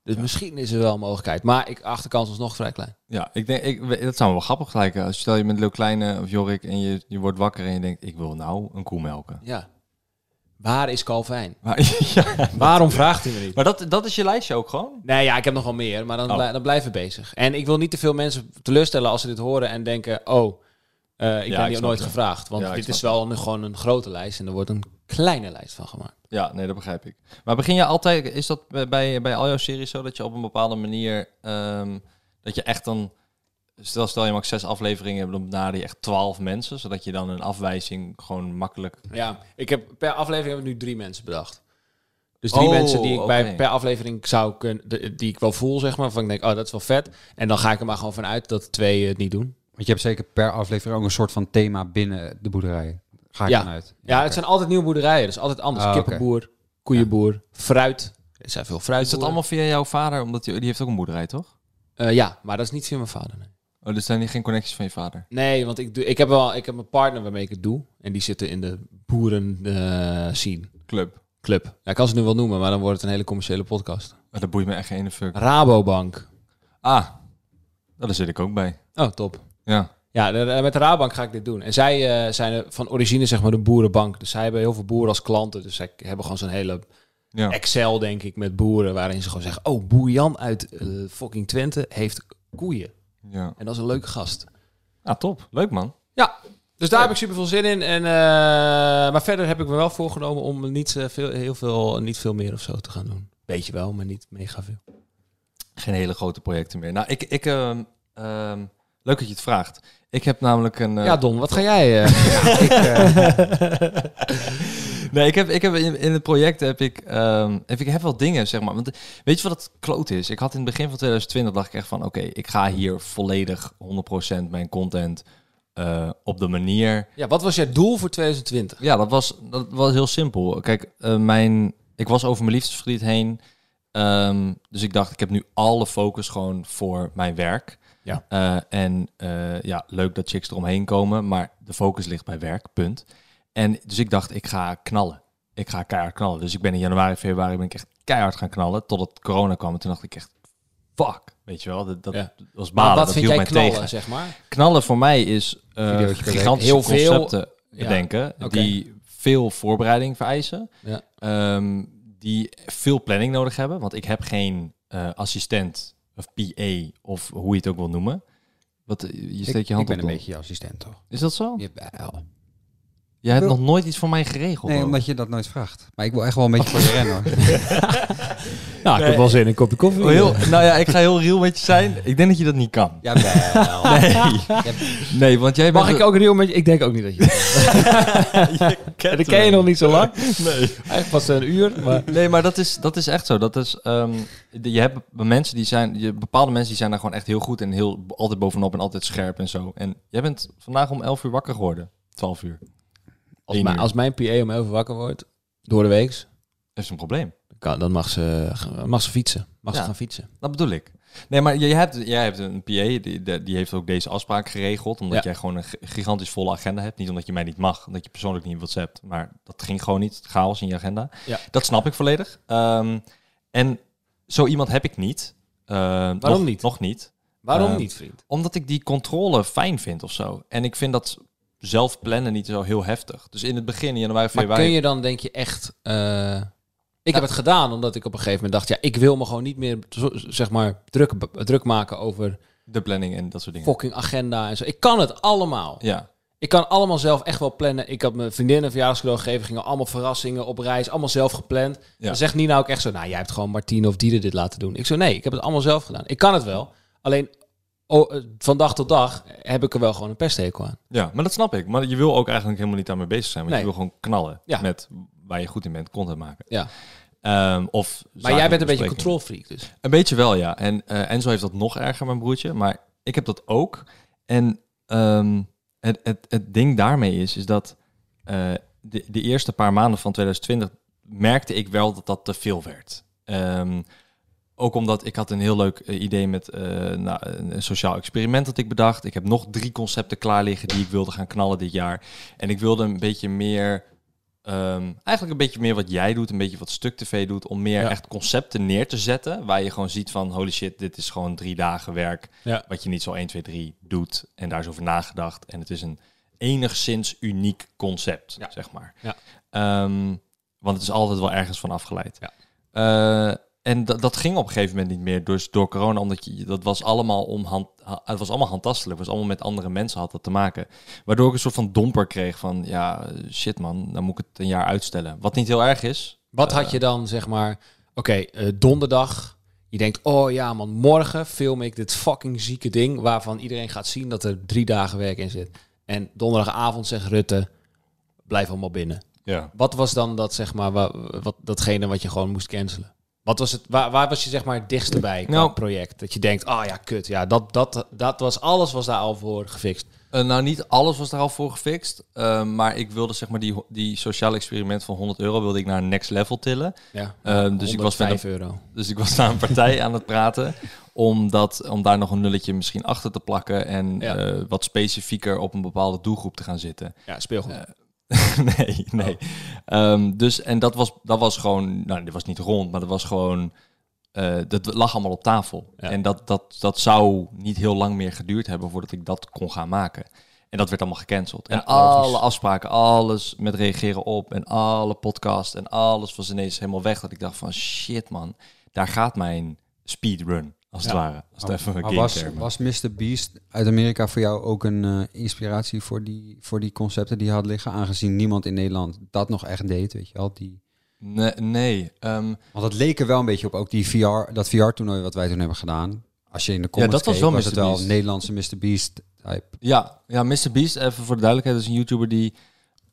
Speaker 3: Dus misschien is er wel een mogelijkheid. Maar ik achterkans is nog vrij klein.
Speaker 1: Ja, ik denk, ik, we- dat zou wel grappig lijken. Als je stel je met Leo Kleine of Jorik en je, je wordt wakker en je denkt, ik wil nou een koe melken.
Speaker 3: Ja. Waar is Calvin?
Speaker 1: Maar, ja,
Speaker 3: Waarom vraagt hij me niet?
Speaker 1: maar dat, dat is je lijstje ook gewoon?
Speaker 3: Nee, ja, ik heb nog wel meer, maar dan,
Speaker 1: Oh.
Speaker 3: blij- dan blijven we bezig. En ik wil niet te veel mensen teleurstellen als ze dit horen en denken... oh, eh, ik ben
Speaker 1: ik
Speaker 3: hier
Speaker 1: snap
Speaker 3: nooit
Speaker 1: het.
Speaker 3: gevraagd. Want
Speaker 1: Ja, ik
Speaker 3: dit is
Speaker 1: snap
Speaker 3: wel een, gewoon een grote lijst en er wordt een kleine lijst van gemaakt.
Speaker 1: Ja, nee, dat begrijp ik. Maar begin je altijd, is dat bij- bij, bij al jouw series zo, dat je op een bepaalde manier, ehm, dat je echt dan, stel, stel je maakt zes afleveringen, hebt, dan benader je echt twaalf mensen, zodat je dan een afwijzing gewoon makkelijk...
Speaker 3: Ja, ik heb per aflevering hebben we nu drie mensen bedacht. Dus drie
Speaker 1: Oh,
Speaker 3: mensen die ik bij,
Speaker 1: oké.
Speaker 3: per aflevering zou kunnen, de- die ik wel voel, zeg maar. Van ik denk, oh, dat is wel vet. En dan ga ik er maar gewoon vanuit dat twee eh, het niet doen.
Speaker 2: Want je hebt zeker per aflevering ook een soort van thema binnen de boerderij. Ga ik
Speaker 3: Ja.
Speaker 2: vanuit.
Speaker 3: Ja,
Speaker 2: oké.
Speaker 3: het zijn altijd nieuwe boerderijen. Dus altijd anders.
Speaker 2: Ah,
Speaker 1: Oh,
Speaker 2: oké.
Speaker 3: Kippenboer, koeienboer, fruit. Er zijn veel fruit.
Speaker 1: Is dat allemaal via jouw vader? Omdat die, die heeft ook een boerderij, toch?
Speaker 3: Eh, ja, maar dat is niet via mijn vader. Nee,
Speaker 1: Oh, dus zijn die geen connecties van je vader?
Speaker 3: Nee, want ik, doe, ik heb wel ik heb een partner waarmee ik het doe. En die zitten in de boeren eh, scene.
Speaker 1: Club.
Speaker 3: Club. Ja, ik kan ze nu wel noemen, maar dan wordt het een hele commerciële podcast.
Speaker 1: Maar dat boeit me echt geen ene fuck.
Speaker 3: Rabobank.
Speaker 1: Ah, nou, daar zit ik ook bij.
Speaker 3: Oh, top.
Speaker 1: Ja.
Speaker 3: Ja, de- de- met de Rabank ga ik dit doen. En zij eh, zijn eh, van origine zeg maar de boerenbank. Dus zij hebben heel veel boeren als klanten. Dus zij hebben gewoon zo'n hele
Speaker 1: ja.
Speaker 3: Excel, denk ik, met boeren. Waarin ze gewoon zeggen, oh, boer Jan uit eh, fucking Twente heeft koeien.
Speaker 1: ja.
Speaker 3: En dat is een leuke gast.
Speaker 1: Ah, top. Leuk, man.
Speaker 3: Ja, dus daar heb ik super veel zin in. En, eh, maar verder heb ik me wel voorgenomen om niet, eh, veel, heel veel, niet veel meer of zo te gaan doen. Beetje wel, maar niet mega veel.
Speaker 1: Geen hele grote projecten meer. Nou, ik... ik ehm, ehm, leuk dat je het vraagt. Ik heb namelijk een... eh,
Speaker 3: Ja, Don, wat ga jij? eh?
Speaker 1: Nee, ik heb, ik heb in, in het project heb ik, ehm, heb ik heb wel dingen, zeg maar. Want weet je wat het kloot is? Ik had in het begin van 2020 dacht ik echt van oké, ik ga hier volledig 100% mijn content eh, op de manier.
Speaker 3: ja, wat was jouw doel voor 2020?
Speaker 1: Ja, dat was, dat was heel simpel. Kijk, eh, mijn, ik was over mijn liefdesverdriet heen. Ehm, dus ik dacht, ik heb nu alle focus gewoon voor mijn werk.
Speaker 3: Ja.
Speaker 1: Eh, en eh, ja, leuk dat chicks eromheen komen, maar de focus ligt bij werk, punt. En dus ik dacht, ik ga knallen. Ik ga keihard knallen. Dus ik ben in januari, februari ben ik echt keihard gaan knallen, totdat corona kwam. En toen dacht ik echt, fuck, weet je wel, dat, dat
Speaker 3: Ja.
Speaker 1: was balen.
Speaker 3: Maar wat
Speaker 1: dat
Speaker 3: vind
Speaker 1: hield
Speaker 3: jij
Speaker 1: mij
Speaker 3: knallen,
Speaker 1: tegen
Speaker 3: zeg maar?
Speaker 1: knallen voor mij is eh,
Speaker 2: Video's bekijken.
Speaker 1: gigantische
Speaker 3: Heel veel-
Speaker 1: concepten
Speaker 3: Ja,
Speaker 1: bedenken
Speaker 3: oké.
Speaker 1: die veel voorbereiding vereisen,
Speaker 3: Ja.
Speaker 1: ehm, die veel planning nodig hebben, want ik heb geen eh, assistent of PA of hoe je het ook wil noemen. Wat, eh, je steekt
Speaker 2: ik,
Speaker 1: je hand op.
Speaker 2: ik ben een
Speaker 1: Don.
Speaker 2: beetje je assistent, toch?
Speaker 1: Is dat zo?
Speaker 2: Jawel.
Speaker 1: Jij hebt
Speaker 2: Wil-
Speaker 1: nog nooit iets voor mij geregeld.
Speaker 2: Nee,
Speaker 1: ook.
Speaker 2: omdat je dat nooit vraagt. Maar ik wil echt wel een beetje voor je rennen, hoor.
Speaker 3: Nou, ik heb wel zin in een kopje koffie.
Speaker 1: Oh, heel, nou ja, ik ga heel real met je zijn. Ik denk dat je dat niet kan.
Speaker 2: Jawel.
Speaker 1: Nee. nee, want jij bent...
Speaker 3: Mag ik ook real met je? Ik denk ook niet dat je. dat ken je nog niet zo lang.
Speaker 1: Nee.
Speaker 3: Eigenlijk pas een uur. Maar...
Speaker 1: Nee, maar dat is, dat is echt zo. Dat is, ehm, de- je hebt be- mensen die zijn, je, bepaalde mensen die zijn daar gewoon echt heel goed en heel altijd bovenop en altijd scherp en zo. En jij bent vandaag om 11 uur wakker geworden. 12 uur.
Speaker 3: Als,
Speaker 1: Eén
Speaker 3: mijn,
Speaker 1: uur.
Speaker 3: als mijn PA om heel wakker wordt, door de week,
Speaker 1: Dat is een probleem.
Speaker 3: kan- dan mag ze, mag ze fietsen. Mag
Speaker 1: Ja.
Speaker 3: ze gaan fietsen.
Speaker 1: Dat bedoel ik. Nee, maar jij hebt, jij hebt een PA, die, de- die heeft ook deze afspraak geregeld. Omdat
Speaker 3: Ja.
Speaker 1: jij gewoon een g- gigantisch volle agenda hebt. Niet omdat je mij niet mag, omdat je persoonlijk niet WhatsAppt. Maar dat ging gewoon niet. Chaos in je agenda.
Speaker 3: Ja.
Speaker 1: Dat snap ik volledig. Ehm, en zo iemand heb ik niet. Eh, nog-
Speaker 3: niet?
Speaker 1: Nog niet.
Speaker 3: Waarom
Speaker 1: Eh,
Speaker 3: niet, vriend?
Speaker 1: Omdat ik die controle fijn vind of zo. En ik vind dat zelf plannen niet zo heel heftig. Dus in het begin, in januari,
Speaker 3: Maar
Speaker 1: februari...
Speaker 3: kun je dan denk je echt... eh,
Speaker 1: Nou-
Speaker 3: ik heb het gedaan omdat ik op een gegeven moment dacht... ja, ik wil me gewoon niet meer zo- zeg maar, druk, druk maken over
Speaker 1: De planning en dat soort dingen.
Speaker 3: fucking agenda en zo. Ik kan het allemaal.
Speaker 1: Ja.
Speaker 3: Ik kan allemaal zelf echt wel plannen. Ik had mijn vriendinnen een verjaardagscadeau gegeven. Gingen allemaal verrassingen op reis. Allemaal zelf gepland.
Speaker 1: Ja.
Speaker 3: Dan zegt Nina ook echt zo... Nou, jij hebt gewoon Martine of Dieder dit laten doen. Ik zo, nee, ik heb het allemaal zelf gedaan. Ik kan het wel. Alleen oh, eh, van dag tot dag heb ik er wel gewoon een pesthekel aan.
Speaker 1: Ja, maar dat snap ik. Maar je wil ook eigenlijk helemaal niet daarmee bezig zijn. Want
Speaker 3: Nee.
Speaker 1: je wil gewoon knallen
Speaker 3: Ja.
Speaker 1: met waar je goed in bent, content maken.
Speaker 3: Ja.
Speaker 1: Ehm, of
Speaker 3: Maar jij
Speaker 1: zakelijke
Speaker 3: bent een beetje
Speaker 1: besprekingen.
Speaker 3: control freak dus.
Speaker 1: Een beetje wel, ja. En eh, Enzo heeft dat nog erger, mijn broertje. Maar ik heb dat ook. En ehm, het, het, het ding daarmee is, is dat eh, de, de eerste paar maanden van 2020 merkte ik wel dat dat te veel werd. Ehm, ook omdat ik had een heel leuk eh, idee met eh, nou, een een sociaal experiment dat ik bedacht. Ik heb nog drie concepten klaar liggen die ik wilde gaan knallen dit jaar. En ik wilde een beetje meer, ehm, eigenlijk een beetje meer wat jij doet, een beetje wat Stuk TV doet, om meer
Speaker 3: Ja.
Speaker 1: echt concepten neer te zetten. Waar je gewoon ziet van, holy shit, dit is gewoon drie dagen werk.
Speaker 3: Ja.
Speaker 1: Wat je niet zo 1, 2, 3 doet en daar is over nagedacht. En het is een enigszins uniek concept,
Speaker 3: Ja.
Speaker 1: zeg maar.
Speaker 3: Ja.
Speaker 1: Ehm, want het is altijd wel ergens van afgeleid.
Speaker 3: Ja.
Speaker 1: Eh, en dat- dat ging op een gegeven moment niet meer dus door corona, omdat je, dat was allemaal om hand, ha- het was allemaal handtastelijk, het was allemaal met andere mensen had dat te maken. Waardoor ik een soort van domper kreeg van, ja, eh, shit man, dan moet ik het een jaar uitstellen. Wat niet heel erg is.
Speaker 3: Wat had je dan, zeg maar, oké, eh, donderdag. Je denkt, oh ja man, morgen film ik dit fucking zieke ding... waarvan iedereen gaat zien dat er drie dagen werk in zit. En donderdagavond zegt Rutte, blijf allemaal binnen.
Speaker 1: Ja.
Speaker 3: Wat was dan dat, zeg maar, wa- wat, datgene wat je gewoon moest cancelen? Wat was het, waar, waar was je zeg maar het dichtste bij qua
Speaker 1: Nou.
Speaker 3: project? Dat je denkt, oh ja, kut, ja, dat, dat, dat was, alles was daar al voor gefixt.
Speaker 1: Eh, nou, niet alles was daar al voor gefixt. eh, maar ik wilde zeg maar die, ho- die sociale experiment van 100 euro wilde ik naar een next level tillen.
Speaker 3: Ja,
Speaker 1: Ehm, dus ik was met
Speaker 3: 5
Speaker 1: een-
Speaker 3: euro.
Speaker 1: Dus ik was naar een partij aan het praten. Om, dat, om daar nog een nulletje misschien achter te plakken. En
Speaker 3: Ja.
Speaker 1: eh, wat specifieker op een bepaalde doelgroep te gaan zitten.
Speaker 3: Ja, speelgoed.
Speaker 1: Eh, nee, nee.
Speaker 2: Oh.
Speaker 1: Ehm, dus, en dat was, dat was gewoon, nou, dit was niet rond, maar dat was gewoon, eh, dat lag allemaal op tafel.
Speaker 3: Ja.
Speaker 1: En dat, dat, dat zou niet heel lang meer geduurd hebben voordat ik dat kon gaan maken. En dat werd allemaal gecanceld. en alle afspraken, alles met reageren op en alle podcast en alles was ineens helemaal weg. Dat ik dacht van shit man, daar gaat mijn speedrun, als het ware. Als het even een
Speaker 2: Maar
Speaker 1: game
Speaker 2: was, was Mr. Beast uit Amerika voor jou ook een eh, inspiratie voor die, voor die concepten die je had liggen? Aangezien niemand in Nederland dat nog echt deed, weet je wel. Die,
Speaker 1: Nee, nee ehm,
Speaker 2: want dat leek er wel een beetje op, ook die VR, dat VR-toernooi wat wij toen hebben gedaan. Als je in de
Speaker 1: Ja, dat
Speaker 2: comments
Speaker 1: was
Speaker 2: keek,
Speaker 1: wel
Speaker 2: was
Speaker 1: Mr.
Speaker 2: het wel
Speaker 1: Beast.
Speaker 2: een Nederlandse Mr. Beast type.
Speaker 1: ja, ja, Mr. Beast, even voor de duidelijkheid, is een YouTuber die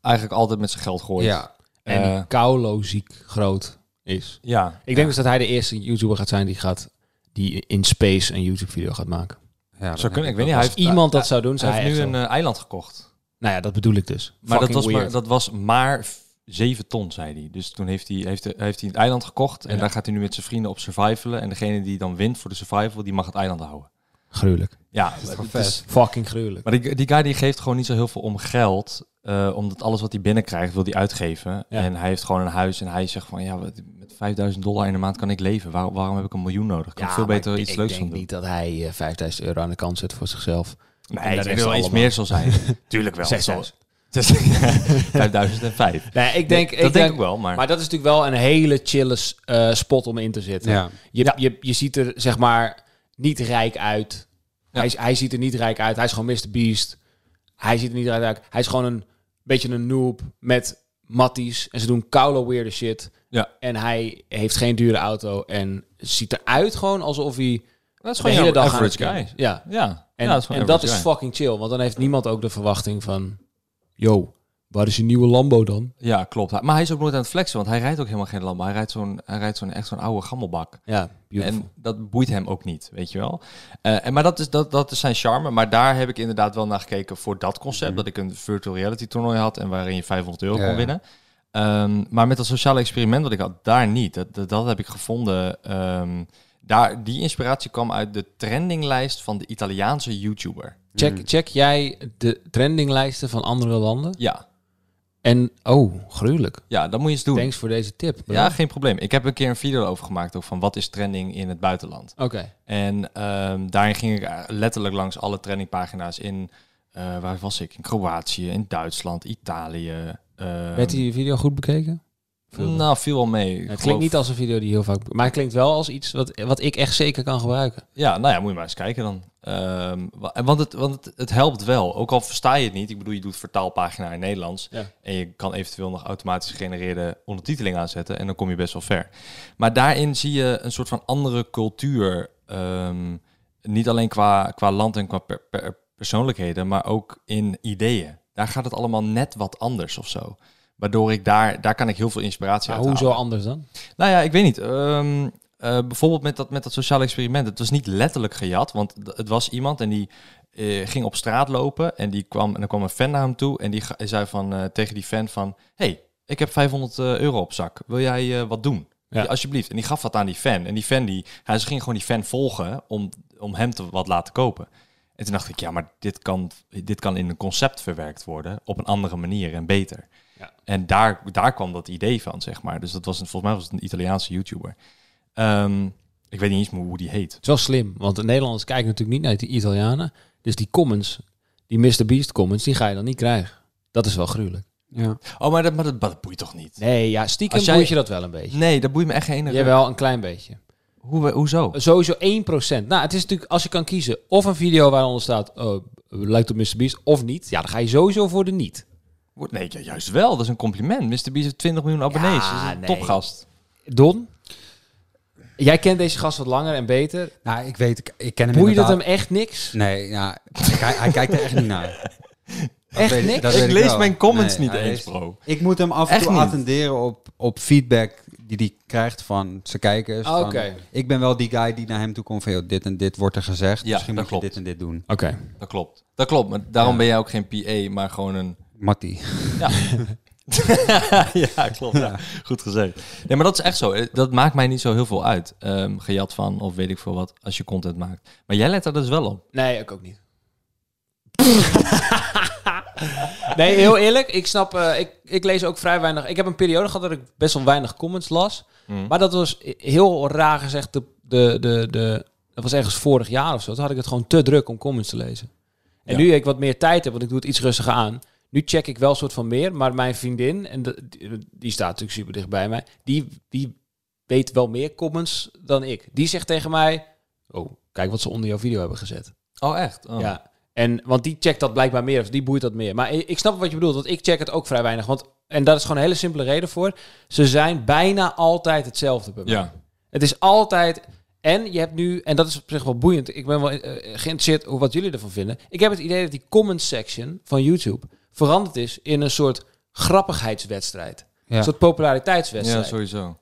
Speaker 1: eigenlijk altijd met zijn geld gooit.
Speaker 2: Ja,
Speaker 3: En
Speaker 1: Eh.
Speaker 3: die Kaulo ziek groot is.
Speaker 1: Ja,
Speaker 3: Ik denk dus dat hij de eerste YouTuber gaat zijn die gaat die in space een YouTube video gaat maken.
Speaker 2: ja,
Speaker 1: zou
Speaker 2: dat-
Speaker 1: kunnen. Ik weet niet. Hij
Speaker 3: Als
Speaker 1: heeft
Speaker 3: iemand dat zou doen,
Speaker 1: Hij
Speaker 3: zou hij
Speaker 1: heeft nu
Speaker 3: echt
Speaker 1: een
Speaker 3: wel-
Speaker 1: eh, eiland gekocht.
Speaker 3: Nou ja, dat bedoel ik dus.
Speaker 1: Maar dat
Speaker 3: Fucking
Speaker 1: was maar,
Speaker 3: weird.
Speaker 1: dat was maar v- 7 ton, zei hij. Dus toen heeft hij, heeft, hij- heeft hij het eiland gekocht. En
Speaker 3: Ja.
Speaker 1: daar gaat hij nu met zijn vrienden op survivalen. En degene die dan wint voor de survival, die mag het eiland houden.
Speaker 3: gruwelijk.
Speaker 1: Ja, dat
Speaker 2: wel vet.
Speaker 3: Fucking gruwelijk.
Speaker 1: Maar die, die guy die geeft gewoon niet zo heel veel om geld. eh, omdat alles wat hij binnenkrijgt, wil hij uitgeven.
Speaker 3: Ja.
Speaker 1: En hij heeft gewoon een huis. En hij zegt van, ja, wat- met 5000 dollar in de maand kan ik leven. Waar- waarom heb ik een miljoen nodig? Ik kan veel
Speaker 3: maar
Speaker 1: beter
Speaker 3: ik-
Speaker 1: iets
Speaker 3: ik
Speaker 1: leuks van
Speaker 3: denk
Speaker 1: doen.
Speaker 3: niet dat hij eh, 5000 euro aan de kant zet voor zichzelf.
Speaker 1: Nee,
Speaker 3: En
Speaker 1: ik
Speaker 3: de
Speaker 1: denk
Speaker 3: rest
Speaker 1: dat wel iets
Speaker 3: allemaal.
Speaker 1: meer zal zijn. Tuurlijk wel. Het zal-
Speaker 3: 6000.
Speaker 1: het is- 5005.
Speaker 3: Nee, ik denk,
Speaker 1: dat denk ik wel, maar-
Speaker 3: Maar dat is natuurlijk wel een hele chille s- eh, spot om in te zitten.
Speaker 2: Ja.
Speaker 3: Je, je, je ziet er zeg maar niet rijk uit. Hij, is- hij ziet er niet rijk uit. Hij is gewoon Mr. Beast. Hij ziet er niet rijk uit. Hij is gewoon een beetje een noob met matties. En ze doen koude weirde shit.
Speaker 1: Ja.
Speaker 3: En hij heeft geen dure auto. En ziet eruit gewoon alsof hij
Speaker 1: Dat is
Speaker 3: de
Speaker 1: gewoon
Speaker 3: hele
Speaker 1: jouw
Speaker 3: dag aan het
Speaker 1: average
Speaker 3: gamen
Speaker 1: guy.
Speaker 3: is. Ja.
Speaker 1: Ja.
Speaker 3: En,
Speaker 1: ja,
Speaker 3: dat, is, en dat is fucking chill. Want dan heeft niemand ook de verwachting van... Yo, waar is je nieuwe Lambo dan?
Speaker 1: Ja, klopt. Maar hij is ook nooit aan het flexen, want hij rijdt ook helemaal geen Lambo. Hij rijdt zo'n, hij rijdt zo'n echt zo'n oude gammelbak.
Speaker 3: Ja, beautiful.
Speaker 1: En dat boeit hem ook niet, weet je wel. Eh, en, maar dat is, dat, dat is zijn charme. Maar daar heb ik inderdaad wel naar gekeken voor dat concept. Dat ik een virtual reality toernooi had en waarin je 500 euro
Speaker 2: Mhm. Ja,
Speaker 1: kon
Speaker 2: ja.
Speaker 1: winnen. Ehm, maar met dat sociale experiment wat ik had, daar niet. Dat, dat, dat heb ik gevonden. ehm, daar, die inspiratie kwam uit de trendinglijst van de Italiaanse YouTuber.
Speaker 3: check, check jij de trendinglijsten van andere landen?
Speaker 1: Ja,
Speaker 3: En, oh, gruwelijk.
Speaker 1: ja dat moet je eens doen.
Speaker 3: Thanks voor deze tip. bro.
Speaker 1: Ja, geen probleem. Ik heb een keer een video over gemaakt ook van wat is trending in het buitenland.
Speaker 3: Oké.
Speaker 1: En ehm, daarin ging ik eh, letterlijk langs alle trendingpagina's in, eh, waar was ik? In Kroatië, in Duitsland, Italië. ehm,
Speaker 3: Werd die video goed bekeken?
Speaker 1: Nou, viel wel mee. Ik
Speaker 3: het klinkt
Speaker 1: geloof-
Speaker 3: niet als een video die heel vaak... Maar het klinkt wel als iets wat, wat ik echt zeker kan gebruiken.
Speaker 1: Ja, nou ja, moet je maar eens kijken dan. Ehm, wa- en want het, want het, het helpt wel. Ook al versta je het niet. Ik bedoel, je doet vertaalpagina in Nederlands.
Speaker 3: Ja.
Speaker 1: En je kan eventueel nog automatisch genereerde ondertiteling aanzetten. En dan kom je best wel ver. Maar daarin zie je een soort van andere cultuur. ehm, Niet alleen qua, qua land en qua per- per- persoonlijkheden, maar ook in ideeën. Daar gaat het allemaal net wat anders of zo. Waardoor ik daar, daar kan ik heel veel inspiratie uit
Speaker 3: hoe
Speaker 1: halen.
Speaker 3: zo anders dan?
Speaker 1: Nou ja, ik weet niet. Ehm, eh, bijvoorbeeld met dat, met dat sociale experiment. Het was niet letterlijk gejat, want d- het was iemand en die eh, ging op straat lopen en, die kwam, en er kwam een fan naar hem toe en die ga- zei van, eh, tegen die fan van... hey, ik heb 500 euro op zak. Wil jij eh, wat doen?
Speaker 3: Ja.
Speaker 1: Ja, Alsjeblieft. En die gaf wat aan die fan. En die fan, die, hij ging gewoon die fan volgen om, om hem te wat laten kopen. En toen dacht ik, ja, maar dit kan, dit kan in een concept verwerkt worden op een andere manier en beter.
Speaker 3: Ja.
Speaker 1: En daar, daar kwam dat idee van, zeg maar. Dus dat was een, volgens mij was het een Italiaanse YouTuber. Ehm, ik weet niet eens meer hoe die heet.
Speaker 3: Het is wel slim, want de Nederlanders kijken natuurlijk niet naar de Italianen. Dus die comments, die Mr. Beast comments, die ga je dan niet krijgen. Dat is wel gruwelijk.
Speaker 2: Ja.
Speaker 1: Oh, maar dat, maar dat, maar dat boeit toch niet? Nee,
Speaker 3: Nee, ja, stiekem
Speaker 1: Als jij-
Speaker 3: boeit je dat wel een beetje.
Speaker 1: dat boeit me echt geen ene.
Speaker 3: Jawel, een klein beetje.
Speaker 1: Hoe, hoezo?
Speaker 3: Sowieso 1%. Nou, het is natuurlijk, als je kan kiezen, of een video waaronder staat, eh, lijkt op Mr. Beast, of niet. Ja, dan ga je sowieso voor de niet.
Speaker 1: Wordt- Nee, ju- juist wel. Dat is een compliment. Mr. Beast heeft 20 miljoen abonnees.
Speaker 3: Ja,
Speaker 1: dat is een
Speaker 3: nee.
Speaker 1: topgast.
Speaker 3: Don, jij kent deze gast wat langer en beter.
Speaker 2: Nou, ik weet, ik, ik ken hem
Speaker 3: Boeit het
Speaker 2: inderdaad-
Speaker 3: hem echt niks?
Speaker 2: Nee, ja, hij, hij kijkt er echt niet naar. Dat
Speaker 3: Echt
Speaker 2: weet
Speaker 3: niks?
Speaker 2: dat
Speaker 1: Ik
Speaker 2: weet
Speaker 1: lees
Speaker 2: wel.
Speaker 1: mijn comments niet
Speaker 2: hij
Speaker 1: eens,
Speaker 2: leest-
Speaker 1: bro.
Speaker 2: Ik moet hem af en
Speaker 1: Echt
Speaker 2: toe
Speaker 1: niet.
Speaker 2: attenderen op, op feedback die hij krijgt van zijn kijkers. van,
Speaker 3: Oké.
Speaker 2: Ik ben wel die guy die naar hem toe komt van, joh, dit en dit wordt er gezegd.
Speaker 1: Ja,
Speaker 2: Misschien
Speaker 1: dat
Speaker 2: moet
Speaker 1: klopt.
Speaker 2: je dit en dit doen.
Speaker 3: Oké.
Speaker 1: Dat klopt. Dat klopt. Maar daarom ben jij ook geen PA, maar gewoon een...
Speaker 2: Mattie.
Speaker 1: ja, klopt. Ja. Goed gezegd. Nee, maar dat is echt zo. Eh, Dat maakt mij niet zo heel veel uit. Ehm, gejat van of weet ik veel wat, als je content maakt. Maar jij let daar dus wel op.
Speaker 3: Nee, ik ook niet. nee, heel eerlijk. Ik snap, eh, ik, ik lees ook vrij weinig. Ik heb een periode gehad dat ik best wel weinig comments las. Maar dat was heel raar gezegd. De, de, de, de, dat was ergens vorig jaar of zo. Toen had ik het gewoon te druk om comments te lezen. En nu ik wat meer tijd heb, want ik doe het iets rustiger aan. Nu check ik wel een soort van meer. Maar mijn vriendin, en de- die, die staat natuurlijk super dicht bij mij. Die, die weet wel meer comments dan ik. Die zegt tegen mij... Oh, kijk wat ze onder jouw video hebben gezet.
Speaker 1: Oh, echt? Oh.
Speaker 3: Ja. En, want die checkt dat blijkbaar meer, of die boeit dat meer. Maar i- ik snap wat je bedoelt, want ik check het ook vrij weinig. Want, en daar is gewoon een hele simpele reden voor. Ze zijn bijna altijd hetzelfde bij mij.
Speaker 1: Ja.
Speaker 3: Het is altijd... En je hebt nu, en dat is op zich wel boeiend. Ik ben wel eh, geïnteresseerd hoe wat jullie ervan vinden. Ik heb het idee dat die comment section van YouTube veranderd is in een soort grappigheidswedstrijd. Een
Speaker 2: Ja.
Speaker 3: soort populariteitswedstrijd.
Speaker 1: ja, sowieso.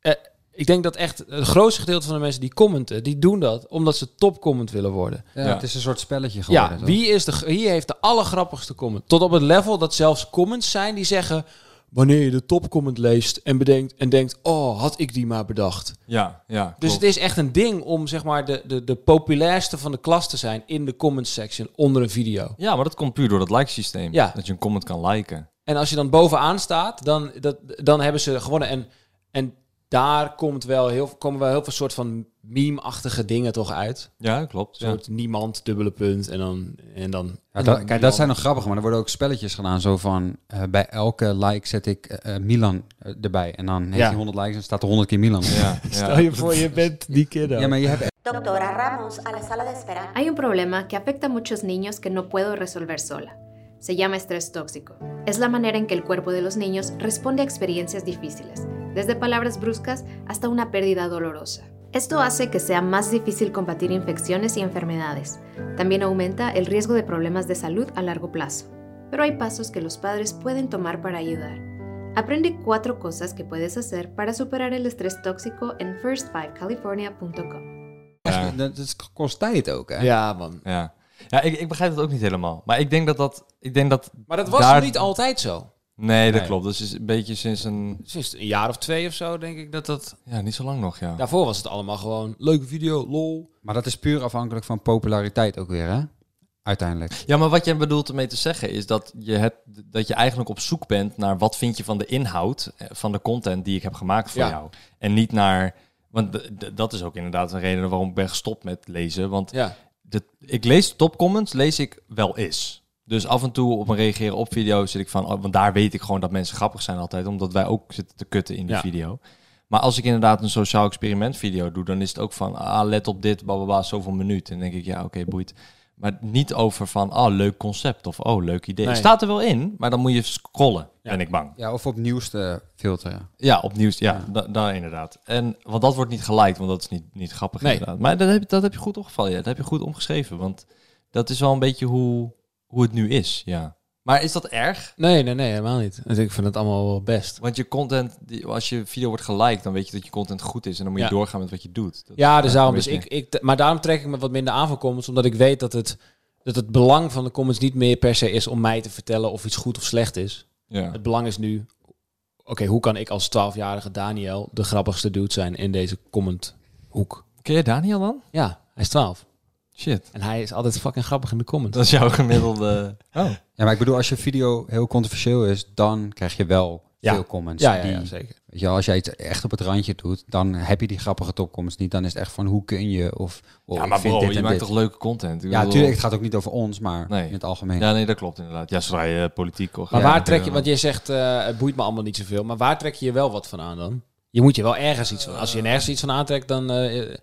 Speaker 3: Eh, ik denk dat echt het grootste gedeelte van de mensen die commenten, die doen dat omdat ze topcomment willen worden.
Speaker 2: Ja,
Speaker 1: Ja.
Speaker 2: Het is een soort spelletje geworden.
Speaker 3: Ja,
Speaker 2: toch?
Speaker 3: wie, is de, wie heeft de allergrappigste comment? Tot op het level dat zelfs comments zijn die zeggen... wanneer je de topcomment leest en bedenkt en denkt... oh, had ik die maar bedacht.
Speaker 1: Ja, ja.
Speaker 3: Dus het
Speaker 1: klopt.
Speaker 3: is echt een ding om zeg maar, de, de, de populairste van de klas te zijn... in de comment section onder een video.
Speaker 1: Ja, maar dat komt puur door dat like-systeem.
Speaker 3: Ja.
Speaker 1: Dat je een comment kan liken.
Speaker 3: En als je dan bovenaan staat, dan, dat, dan hebben ze gewonnen. En, en daar komt wel heel, komen wel heel veel soort van meme-achtige dingen toch uit.
Speaker 1: Ja, klopt.
Speaker 3: Een
Speaker 1: Ja.
Speaker 3: soort niemand, dubbele punt en dan... En dan
Speaker 2: Ja, dat, Nou, kijk, dat zijn nog grappig, maar er worden ook spelletjes gedaan. Zo van, eh, bij elke like zet ik eh, eh, Milan eh, erbij. En dan heeft
Speaker 3: Ja.
Speaker 2: hij 100 likes en staat er 100 keer Milan. op.
Speaker 1: Ja,
Speaker 3: Stel
Speaker 1: ja.
Speaker 3: je voor, je bent die kiddo.
Speaker 2: Ja, maar je hebt...
Speaker 6: Doctora Ramos a la sala de espera.
Speaker 7: Hay un problema que afecta a muchos niños que no puedo resolver sola. Se llama estrés tóxico. Es la manera en que el cuerpo de los niños responde a experiencias difíciles, desde palabras bruscas hasta una pérdida dolorosa. Esto hace que sea más difícil combatir infecciones y enfermedades. También aumenta el riesgo de problemas de salud a largo plazo. Pero hay pasos que los padres pueden tomar para ayudar. Aprende cuatro cosas que puedes hacer para superar el estrés tóxico en first5california.com.
Speaker 1: Ja.
Speaker 2: Dat, dat kost tijd ook, hè?
Speaker 3: Ja, man.
Speaker 1: ja. Ja, ik, ik begrijp dat ook niet helemaal. Maar ik denk dat dat... Ik denk dat
Speaker 3: Maar dat was
Speaker 1: daar-
Speaker 3: niet altijd zo.
Speaker 1: Nee, dat klopt. Dus is een beetje sinds een...
Speaker 3: Sinds een jaar of twee of zo, denk ik dat dat...
Speaker 1: Ja, niet zo lang nog, ja.
Speaker 3: Daarvoor was het allemaal gewoon... Leuke video, lol.
Speaker 2: Maar dat is puur afhankelijk van populariteit ook weer, hè? Uiteindelijk.
Speaker 1: Ja, maar wat jij bedoelt ermee te zeggen is dat je, het, dat je eigenlijk op zoek bent naar wat vind je van de inhoud eh, van de content die ik heb gemaakt voor
Speaker 3: Ja.
Speaker 1: jou. En niet naar. Want d- d- dat is ook inderdaad een reden waarom ik ben gestopt met lezen. Want
Speaker 3: Ja.
Speaker 1: de, ik lees topcomments, lees ik wel eens. Dus af en toe op een reageren op video zit ik van, oh, want daar weet ik gewoon dat mensen grappig zijn altijd, omdat wij ook zitten te kutten in die
Speaker 3: Ja.
Speaker 1: video. Maar als ik inderdaad een sociaal experiment video doe, dan is het ook van, ah, let op dit, blablabla, zoveel minuut. En dan denk ik, ja, oké, boeit. Maar niet over van, oh, leuk concept of oh, leuk idee.
Speaker 3: Nee.
Speaker 1: Staat er wel in, maar dan moet je scrollen, ben ik bang.
Speaker 2: Ja, of op nieuws te filteren.
Speaker 1: Ja, opnieuw. Ja, da- daar inderdaad. En, want dat wordt niet geliked, want dat is niet, niet grappig
Speaker 3: Nee.
Speaker 1: inderdaad. Maar dat heb, dat heb je goed opgevallen, ja. Dat heb je goed omgeschreven, want dat is wel een beetje hoe, hoe het nu is, ja. Maar is dat erg?
Speaker 3: Nee, nee, nee, helemaal niet. Dus ik vind het allemaal wel best.
Speaker 1: Want je content, die- als je video wordt geliked, dan weet je dat je content goed is. En dan moet je
Speaker 3: Ja.
Speaker 1: doorgaan met wat je doet. Dat-
Speaker 3: Ja, dus daarom.
Speaker 1: weet
Speaker 3: Dus
Speaker 1: je.
Speaker 3: ik, ik, maar daarom trek ik me wat minder aan van comments, omdat ik weet dat het, dat het belang van de comments niet meer per se is om mij te vertellen of iets goed of slecht is.
Speaker 1: ja.
Speaker 3: Het belang is nu, oké, hoe kan ik als 12-jarige Daniel de grappigste dude zijn in deze commenthoek?
Speaker 1: Ken je Daniel dan?
Speaker 3: Ja, hij is 12.
Speaker 1: Shit.
Speaker 3: En hij is altijd fucking grappig in de comments.
Speaker 1: Dat is jouw gemiddelde... Oh.
Speaker 2: Ja, maar ik bedoel, als je video heel controversieel is, dan krijg je wel
Speaker 3: Ja.
Speaker 2: veel comments.
Speaker 3: ja, ja,
Speaker 2: die,
Speaker 3: ja, zeker.
Speaker 2: Weet je, wel, als jij het echt op het randje doet, dan heb je die grappige topcomments niet. Dan is het echt van, hoe kun je? Of, wow,
Speaker 1: Ja,
Speaker 2: ik
Speaker 1: maar
Speaker 2: vind
Speaker 1: bro,
Speaker 2: dit
Speaker 1: je
Speaker 2: en
Speaker 1: maakt
Speaker 2: dit.
Speaker 1: toch leuke content? Ik
Speaker 2: Ja,
Speaker 1: bedoel-
Speaker 2: natuurlijk, het gaat ook niet over ons, maar
Speaker 1: Nee.
Speaker 2: in het algemeen.
Speaker 1: Ja, nee, dat klopt inderdaad. Ja, zodra je eh, politiek...
Speaker 3: Maar
Speaker 1: ja,
Speaker 3: waar trek je,
Speaker 1: eh,
Speaker 3: want je zegt, eh, het boeit me allemaal niet zoveel, maar waar trek je je wel wat van aan dan? Je moet je wel ergens iets van. Als je nergens iets van aantrekt, dan eh,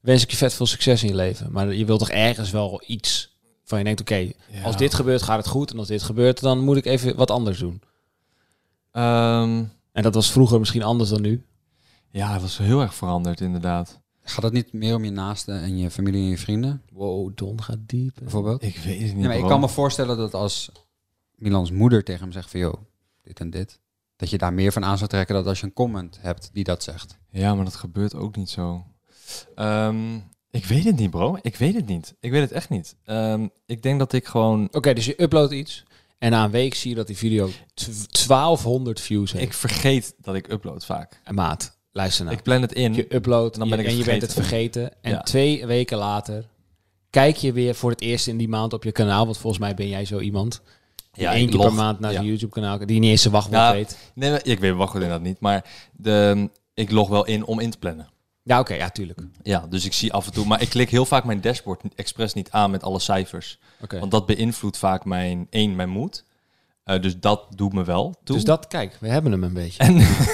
Speaker 3: wens ik je vet veel succes in je leven. Maar je wilt toch ergens wel iets van je denkt, oké,
Speaker 1: Ja.
Speaker 3: als dit gebeurt gaat het goed en als dit gebeurt, dan moet ik even wat anders doen.
Speaker 1: Ehm,
Speaker 3: En dat was vroeger misschien anders dan nu.
Speaker 1: ja, hij was heel erg veranderd inderdaad.
Speaker 2: Gaat het niet meer om je naasten en je familie en je vrienden,
Speaker 3: Wow, Don gaat diep.
Speaker 2: bijvoorbeeld?
Speaker 1: Ik weet het niet.
Speaker 2: Ja, maar ik
Speaker 1: bro.
Speaker 2: kan me voorstellen dat als Milans moeder tegen hem zegt van, joh, dit en dit, dat je daar meer van aan zou trekken dan als je een comment hebt die dat zegt.
Speaker 1: Ja, maar dat gebeurt ook niet zo. Ehm, ik weet het niet, bro. Ik weet het niet. Ik weet het echt niet. Ehm, ik denk dat ik gewoon...
Speaker 3: Oké, dus je uploadt iets en na een week zie je dat die video tw- 1200 views heeft.
Speaker 1: Ik vergeet dat ik upload vaak.
Speaker 3: En maat,
Speaker 2: Nou.
Speaker 3: luister nou. naar.
Speaker 1: Ik plan het in.
Speaker 3: je upload
Speaker 1: Mm. En dan ben ik
Speaker 3: en
Speaker 1: het
Speaker 3: je bent het vergeten. En
Speaker 1: Ja.
Speaker 3: twee weken later kijk je weer voor het eerst in die maand op je kanaal. Want volgens mij ben jij zo iemand. Die
Speaker 1: Ja,
Speaker 3: één
Speaker 1: ik
Speaker 3: keer
Speaker 1: log.
Speaker 3: per maand naar
Speaker 1: Ja.
Speaker 3: zijn YouTube kanaal die niet eens zijn wachtwoord
Speaker 1: Ja.
Speaker 3: weet.
Speaker 1: Nee, maar- ik weet wacht inderdaad niet. Maar de, ik log wel in om in te plannen.
Speaker 3: Ja, oké, ja, tuurlijk.
Speaker 1: Ja, dus ik zie af en toe... Maar ik klik heel vaak mijn dashboard expres niet aan met alle cijfers.
Speaker 3: Oké.
Speaker 1: Want dat beïnvloedt vaak mijn... één, mijn moed. Eh, dus dat doet me wel toe.
Speaker 3: Dus dat, kijk, we hebben hem een beetje.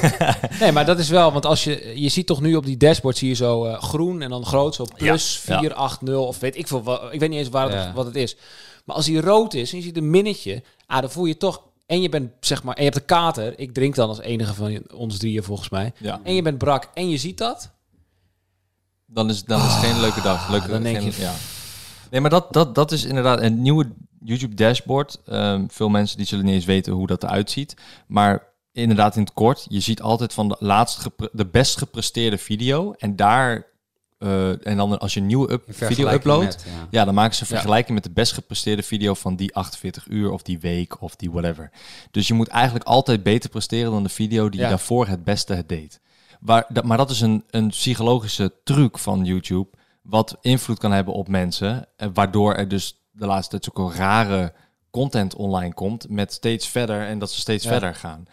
Speaker 3: nee, maar dat is wel, want als je, je ziet toch nu op die dashboard, zie je zo eh, groen en dan groot, zo plus
Speaker 1: Ja, ja.
Speaker 3: 480 of weet ik veel, wa- ik weet niet eens waar het-
Speaker 2: Ja.
Speaker 3: wat het is. Maar als die rood is en je ziet een minnetje, ah, dan voel je toch, en je bent zeg maar, en je hebt een kater, ik drink dan als enige van ons drieën volgens mij,
Speaker 1: Ja.
Speaker 3: en je bent brak en je ziet dat,
Speaker 1: Dan is, dan is het geen leuke dag. Leuke,
Speaker 3: Ah, dan denk
Speaker 1: geen-
Speaker 3: je,
Speaker 1: ja. Nee, maar dat, dat, dat is inderdaad een nieuwe YouTube dashboard. Ehm, veel mensen die zullen niet eens weten hoe dat eruit ziet. Maar inderdaad in het kort, je ziet altijd van de, laatst gepre- de best gepresteerde video. En daar, eh, en dan als je een nieuwe up-
Speaker 2: In
Speaker 1: video
Speaker 2: vergelijking
Speaker 1: upload,
Speaker 2: met, ja.
Speaker 1: ja. dan maken ze een vergelijking met de best gepresteerde video van die 48 uur of die week of die whatever. Dus je moet eigenlijk altijd beter presteren dan de video die
Speaker 3: Ja.
Speaker 1: je daarvoor het beste het deed. Waar, dat, maar dat is een, een psychologische truc van YouTube, wat invloed kan hebben op mensen, eh, waardoor er dus de laatste tijd zulke rare content online komt met steeds verder en dat ze steeds verder gaan.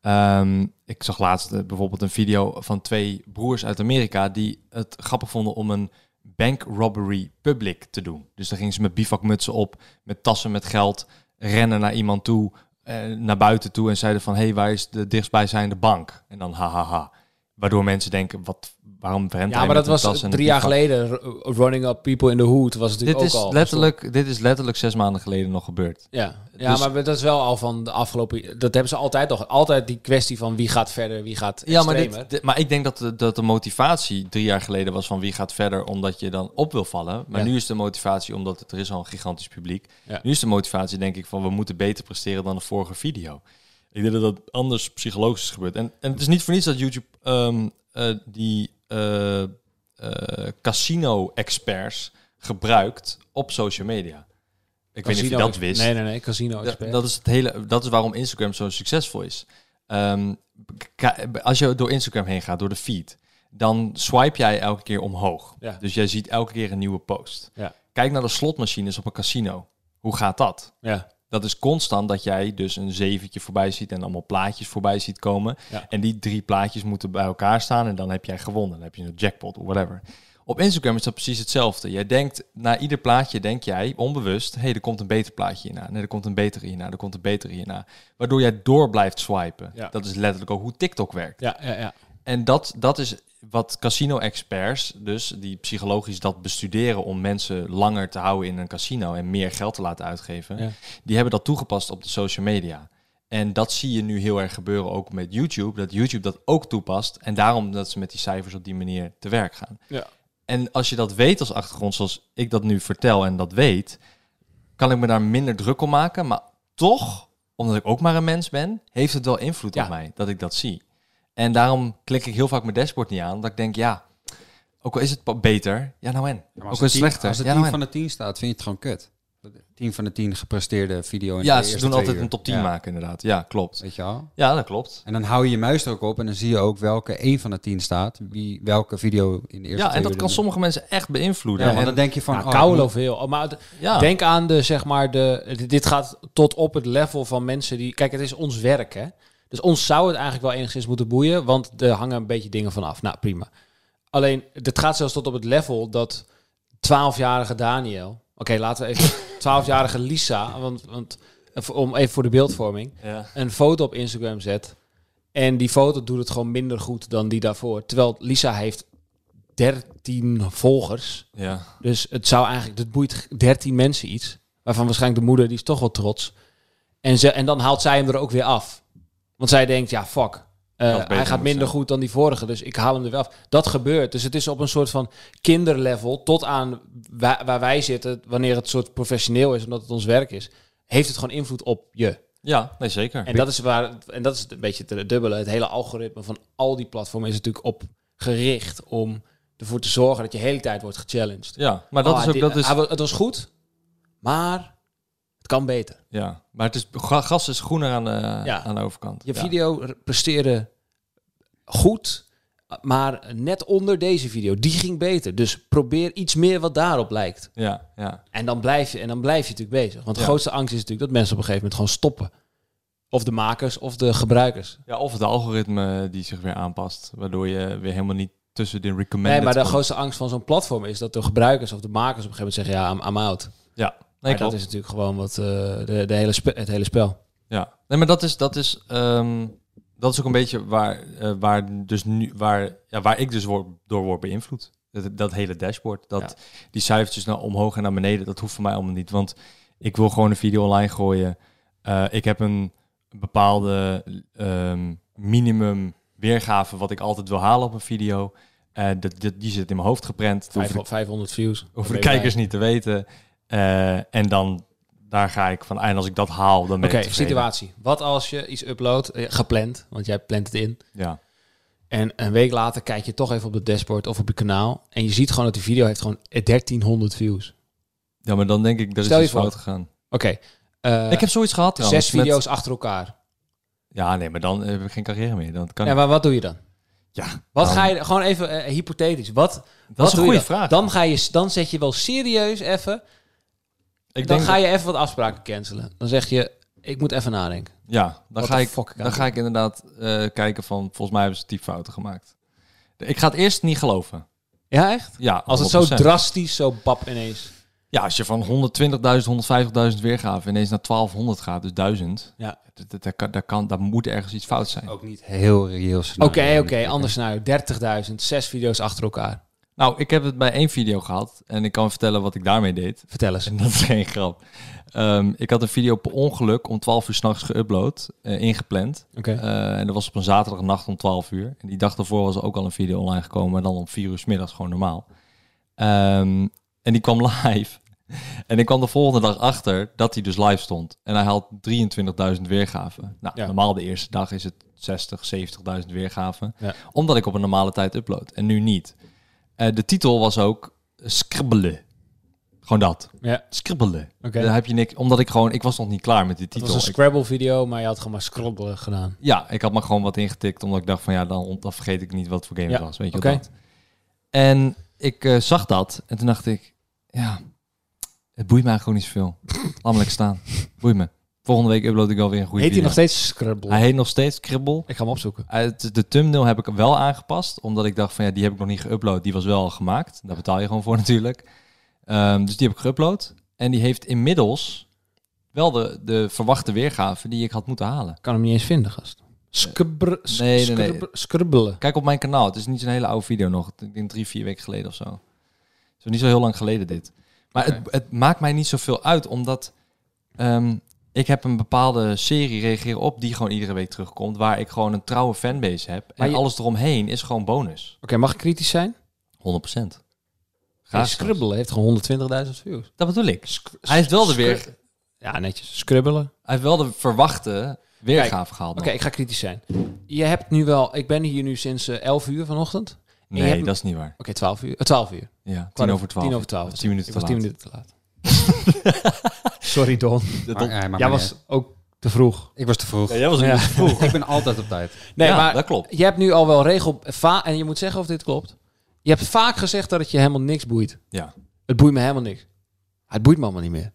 Speaker 1: Ehm, ik zag laatst eh, bijvoorbeeld een video van twee broers uit Amerika die het grappig vonden om een bank robbery public te doen. Dus dan gingen ze met bivakmutsen op, met tassen met geld, rennen naar iemand toe, eh, naar buiten toe en zeiden van, hé, hey, waar is de dichtstbijzijnde bank? En dan ha ha ha. Waardoor mensen denken, wat, waarom rent
Speaker 3: ja,
Speaker 1: hij
Speaker 3: maar
Speaker 1: met
Speaker 3: dat
Speaker 1: een
Speaker 3: was
Speaker 1: tas en een
Speaker 3: drie jaar
Speaker 1: bivak?
Speaker 3: geleden, r- running up people in the hood was natuurlijk
Speaker 1: Dit
Speaker 3: ook
Speaker 1: is,
Speaker 3: al. dus
Speaker 1: letterlijk, dit is letterlijk zes maanden geleden nog gebeurd.
Speaker 3: Ja, ja
Speaker 1: Dus-
Speaker 3: maar dat is wel al van de afgelopen... Dat hebben ze altijd nog. Altijd die kwestie van wie gaat verder, wie gaat
Speaker 1: Ja, maar,
Speaker 3: extremer.
Speaker 1: dit, dit- maar ik denk dat de, dat de motivatie drie jaar geleden was van wie gaat verder omdat je dan op wil vallen. Maar
Speaker 3: Ja.
Speaker 1: nu is de motivatie omdat het, er is al een gigantisch publiek.
Speaker 3: Ja.
Speaker 1: Nu is de motivatie denk ik van we moeten beter presteren dan de vorige video. Ik denk dat dat anders psychologisch is gebeurd. En, en het is niet voor niets dat YouTube ehm, eh, die eh, eh, casino-experts gebruikt op social media. Ik weet niet of je dat wist.
Speaker 3: Nee, nee, nee. Casino
Speaker 1: Ja,
Speaker 3: expert.
Speaker 1: dat is het hele. Dat is waarom Instagram zo succesvol is. Ehm, ka- als je door Instagram heen gaat, door de feed, dan swipe jij elke keer omhoog.
Speaker 3: Ja.
Speaker 1: Dus jij ziet elke keer een nieuwe post.
Speaker 3: Ja.
Speaker 1: Kijk naar de slotmachines op een casino. Hoe gaat dat?
Speaker 3: ja.
Speaker 1: Dat is constant dat jij dus een zeventje voorbij ziet en allemaal plaatjes voorbij ziet komen.
Speaker 3: Ja.
Speaker 1: En die drie plaatjes moeten bij elkaar staan en dan heb jij gewonnen. Dan heb je een jackpot of whatever. Op Instagram is dat precies hetzelfde. Jij denkt, na ieder plaatje denk jij onbewust... hé, hey, er komt een beter plaatje hierna. Nee, er komt een betere hierna. Er komt een betere hierna. Waardoor jij door blijft swipen.
Speaker 3: Ja.
Speaker 1: Dat is letterlijk ook hoe TikTok werkt.
Speaker 3: Ja, ja, ja.
Speaker 1: En dat, dat is wat casino-experts, dus die psychologisch dat bestuderen om mensen langer te houden in een casino en meer geld te laten uitgeven,
Speaker 3: Ja.
Speaker 1: die hebben dat toegepast op de social media. En dat zie je nu heel erg gebeuren ook met YouTube, dat YouTube dat ook toepast en daarom dat ze met die cijfers op die manier te werk gaan.
Speaker 3: Ja.
Speaker 1: En als je dat weet als achtergrond, zoals ik dat nu vertel en dat weet, kan ik me daar minder druk om maken. Maar toch, omdat ik ook maar een mens ben, heeft het wel invloed
Speaker 3: Ja.
Speaker 1: op mij dat ik dat zie. En daarom klik ik heel vaak mijn dashboard niet aan, omdat ik denk, ja, ook al is het pa- beter, ja nou en.
Speaker 2: Ja, maar
Speaker 1: ook
Speaker 2: als
Speaker 1: al is het
Speaker 2: tien-
Speaker 1: slechter,
Speaker 2: Als het
Speaker 1: ja
Speaker 2: 10
Speaker 1: nou en.
Speaker 2: van de 10 staat, vind je het gewoon kut. 10 van de 10 gepresteerde video in
Speaker 1: Ja,
Speaker 2: de
Speaker 1: ze
Speaker 2: eerste
Speaker 1: doen
Speaker 2: twee
Speaker 1: altijd
Speaker 2: uur.
Speaker 1: een top 10
Speaker 2: Ja,
Speaker 1: maken inderdaad. Ja, klopt.
Speaker 2: Weet je al?
Speaker 1: Ja, dat klopt.
Speaker 2: En dan hou je je muis er ook op en dan zie je ook welke 1 van de 10 staat. Wie, welke video in de eerste
Speaker 1: Ja, en
Speaker 2: twee
Speaker 1: dat
Speaker 2: uur
Speaker 1: kan
Speaker 2: doen.
Speaker 1: sommige mensen echt beïnvloeden.
Speaker 2: Ja, want
Speaker 1: En-
Speaker 2: dan denk je van...
Speaker 3: Ja,
Speaker 2: oh,
Speaker 3: Kouwelo
Speaker 2: ik moet-
Speaker 3: veel. Oh, Maar het-
Speaker 1: ja.
Speaker 3: denk aan de, zeg maar, de, d- dit gaat tot op het level van mensen die... Kijk, het is ons werk, hè. Dus ons zou het eigenlijk wel enigszins moeten boeien, want er hangen een beetje dingen van af. Nou, prima. Alleen, dit gaat zelfs tot op het level dat 12-jarige Daniel... Oké, laten we even... 12-jarige Lisa, want, want, om even voor de beeldvorming
Speaker 1: Ja.
Speaker 3: een foto op Instagram zet. En die foto doet het gewoon minder goed dan die daarvoor. Terwijl Lisa heeft 13 volgers.
Speaker 1: Ja.
Speaker 3: Dus het zou eigenlijk, dat boeit 13 mensen iets. Waarvan waarschijnlijk de moeder, die is toch wel trots. En, ze, en dan haalt zij hem er ook weer af. Want zij denkt, ja, fuck. eh,
Speaker 1: Had beter
Speaker 3: hij gaat
Speaker 1: moeten
Speaker 3: minder
Speaker 1: zijn.
Speaker 3: goed dan die vorige, dus ik haal hem er weer af. Dat gebeurt. Dus het is op een soort van kinderlevel tot aan wa- waar wij zitten, wanneer het soort professioneel is, omdat het ons werk is, heeft het gewoon invloed op je.
Speaker 1: ja, nee zeker.
Speaker 3: En dat is waar, en dat is een beetje het dubbele. Het hele algoritme van al die platformen is natuurlijk op gericht om ervoor te zorgen dat je de hele tijd wordt gechallenged.
Speaker 1: ja, maar dat
Speaker 3: Oh,
Speaker 1: is ook...
Speaker 3: dit-
Speaker 1: Dat is,
Speaker 3: hij wa- het was goed, maar het kan beter.
Speaker 1: Ja, maar het is, gra- gras is groener aan de,
Speaker 3: Ja.
Speaker 1: aan de overkant.
Speaker 3: Je
Speaker 1: Ja.
Speaker 3: video r- presteerde goed, maar net onder deze video. Die ging beter. Dus probeer iets meer wat daarop lijkt.
Speaker 1: Ja, ja.
Speaker 3: En dan blijf je, en dan blijf je natuurlijk bezig. Want de
Speaker 1: Ja.
Speaker 3: grootste angst is natuurlijk dat mensen op een gegeven moment gewoon stoppen. Of de makers of de gebruikers.
Speaker 1: ja, of het algoritme die zich weer aanpast, waardoor je weer helemaal niet tussen de recommended...
Speaker 3: Nee, maar de
Speaker 1: komt.
Speaker 3: grootste angst van zo'n platform is dat de gebruikers of de makers op een gegeven moment zeggen, ja, I'm, I'm out.
Speaker 1: Ja, nee,
Speaker 3: maar
Speaker 1: klopt.
Speaker 3: dat is natuurlijk gewoon wat eh, de, de hele spe- het hele spel.
Speaker 1: Ja, nee, maar dat is, dat is, ehm, dat is ook een beetje waar, eh, waar, dus nu, waar, ja, waar ik dus word, door word beïnvloed. Dat, dat hele dashboard, dat die cijfertjes naar omhoog en naar beneden, dat hoeft voor mij allemaal niet. Want ik wil gewoon een video online gooien. Eh, ik heb een bepaalde ehm, minimum weergave wat ik altijd wil halen op een video. Eh, dat, dat, die zit in mijn hoofd geprent. Dat hoef ik-
Speaker 3: 500, 500 views.
Speaker 1: hoeven de kijkers niet te weten. Eh, en dan daar ga ik van. En als ik dat haal, dan ben
Speaker 3: Oké,
Speaker 1: ik tevreden.
Speaker 3: situatie. Wat als je iets uploadt, eh, gepland, want jij plant het in.
Speaker 1: Ja,
Speaker 3: En een week later kijk je toch even op de dashboard of op je kanaal. En je ziet gewoon dat die video heeft gewoon 1300 views. Oké.
Speaker 1: ja maar dan denk ik, dat
Speaker 3: Stel
Speaker 1: is
Speaker 3: je
Speaker 1: iets fout
Speaker 3: voor.
Speaker 1: gegaan.
Speaker 3: eh,
Speaker 1: ik heb zoiets gehad trouwens.
Speaker 3: zes
Speaker 1: met-
Speaker 3: video's achter elkaar.
Speaker 1: Ja, nee, maar dan heb ik geen carrière meer. Dan kan
Speaker 3: Ja, maar wat doe je dan?
Speaker 1: ja
Speaker 3: Wat
Speaker 1: dan-
Speaker 3: ga je, gewoon even eh, hypothetisch, wat,
Speaker 1: Dat is een
Speaker 3: doe je
Speaker 1: goede
Speaker 3: dan?
Speaker 1: vraag.
Speaker 3: Dan, ga je, dan zet je wel serieus even
Speaker 1: ik
Speaker 3: dan
Speaker 1: denk
Speaker 3: ga je even wat afspraken cancelen. Dan zeg je, ik moet even nadenken.
Speaker 1: Ja, dan
Speaker 3: What
Speaker 1: ga
Speaker 3: the
Speaker 1: ik,
Speaker 3: fuck kan
Speaker 1: dan
Speaker 3: dit?
Speaker 1: ga ik inderdaad eh, kijken van, volgens mij hebben ze typfouten gemaakt. Ik ga het eerst niet geloven.
Speaker 3: Ja, echt?
Speaker 1: Ja,
Speaker 3: Als het zo
Speaker 1: 100%.
Speaker 3: drastisch, zo bap ineens.
Speaker 1: Ja, als je van 120.000, 150.000 weergaven ineens naar 1200 gaat, dus 1000.
Speaker 3: Ja.
Speaker 1: dat- dat- Daar kan, daar kan, daar moet ergens iets fout zijn.
Speaker 2: Ook niet heel reëel
Speaker 3: Oké,
Speaker 2: scenario.
Speaker 3: oké, anders nou. 30.000, zes video's achter elkaar.
Speaker 1: Nou, ik heb het bij één video gehad en ik kan vertellen wat ik daarmee deed.
Speaker 3: Vertel eens.
Speaker 1: En dat is geen grap. Ehm, ik had een video per ongeluk om 12 uur s'nachts geüpload, eh, ingepland.
Speaker 3: Oké.
Speaker 1: Eh, en dat was op een zaterdagnacht om 12 uur. En die dag daarvoor was er ook al een video online gekomen. En dan om 4 uur 's middags gewoon normaal. Ehm, en die kwam live. En ik kwam de volgende dag achter dat hij dus live stond. En hij haalt 23.000 weergaven. Nou,
Speaker 3: Ja.
Speaker 1: normaal de eerste dag is het 60, 70.000 weergaven.
Speaker 3: Ja.
Speaker 1: Omdat ik op een normale tijd upload. En nu niet. Eh, de titel was ook Scribbelen. Gewoon dat.
Speaker 3: Ja,
Speaker 1: Scribbelen.
Speaker 3: oké.
Speaker 1: Daar heb je niks. Omdat ik gewoon, ik was nog niet klaar met die
Speaker 3: Het
Speaker 1: titel.
Speaker 3: was een
Speaker 1: Ik-
Speaker 3: Scrabble video, maar je had gewoon maar scrobbelen gedaan.
Speaker 1: ja, ik had maar gewoon wat ingetikt, omdat ik dacht van ja, dan, ont- dan vergeet ik niet wat voor game het
Speaker 3: Ja,
Speaker 1: was, weet je
Speaker 3: oké.
Speaker 1: wel dat. En ik eh, zag dat en toen dacht ik, ja, het boeit mij gewoon niet zoveel. Laat me lekker staan, boeit me. Volgende week upload ik alweer een goede
Speaker 3: Heet hij
Speaker 1: video.
Speaker 3: nog steeds Scrabble?
Speaker 1: nou- Hij heet nog steeds Kribbel.
Speaker 3: Ik ga hem opzoeken.
Speaker 1: Uit de thumbnail heb ik hem wel aangepast, omdat ik dacht van ja, die heb ik nog niet geüpload. Die was wel al gemaakt, daar betaal je gewoon voor natuurlijk. Ehm, dus die heb ik geüpload en die heeft inmiddels wel de, de verwachte weergave die ik had moeten halen.
Speaker 3: Ik kan hem niet eens vinden, gast. Skubr, sk-
Speaker 1: Nee, nee, nee.
Speaker 3: skubr- Skrubbelen.
Speaker 1: Kijk op mijn kanaal. Het is niet zo'n hele oude video nog. Ik denk drie, vier weken geleden of zo. Het is niet zo heel lang geleden dit. Maar het, het maakt mij niet zoveel uit, omdat ehm, ik heb een bepaalde serie reageren op die gewoon iedere week terugkomt, waar ik gewoon een trouwe fanbase heb.
Speaker 3: Maar
Speaker 1: en
Speaker 3: je-
Speaker 1: alles eromheen is gewoon bonus. 100%.
Speaker 3: Oké, mag ik kritisch zijn?
Speaker 1: Graag. zelfs.
Speaker 3: Skrubbelen heeft gewoon 120.000 views.
Speaker 1: Dat bedoel ik. Hij heeft wel de, weer,
Speaker 3: Skru- Ja, netjes. Skrubbelen.
Speaker 1: hij heeft wel de verwachte weergave gehaald.
Speaker 3: Oké,
Speaker 1: nog.
Speaker 3: ik ga kritisch zijn. Je hebt nu wel... Ik ben hier nu sinds eh, 11 uur vanochtend. Oké, je
Speaker 1: Nee,
Speaker 3: hebt-
Speaker 1: dat is niet waar.
Speaker 3: 12 uur. eh, 12 uur.
Speaker 1: Ja, tien
Speaker 3: Kwart
Speaker 1: over twaalf.
Speaker 3: Tien over 12.
Speaker 1: Tien minuten
Speaker 3: Ik was
Speaker 1: te
Speaker 3: 10
Speaker 1: laat.
Speaker 3: minuten te laat. Sorry, Don.
Speaker 2: Maar, eh, maar
Speaker 3: Jij
Speaker 2: maar
Speaker 3: was ook te vroeg.
Speaker 2: niet. Ik was te vroeg.
Speaker 1: jij was
Speaker 3: Ja.
Speaker 2: Ik ben altijd op tijd.
Speaker 3: Nee,
Speaker 1: Ja,
Speaker 3: maar
Speaker 1: dat klopt.
Speaker 3: je hebt nu al wel regel... va- en je moet zeggen of dit klopt. Je hebt vaak gezegd dat het je helemaal niks boeit.
Speaker 1: Ja.
Speaker 3: Het boeit me helemaal niks. Het boeit me allemaal niet meer.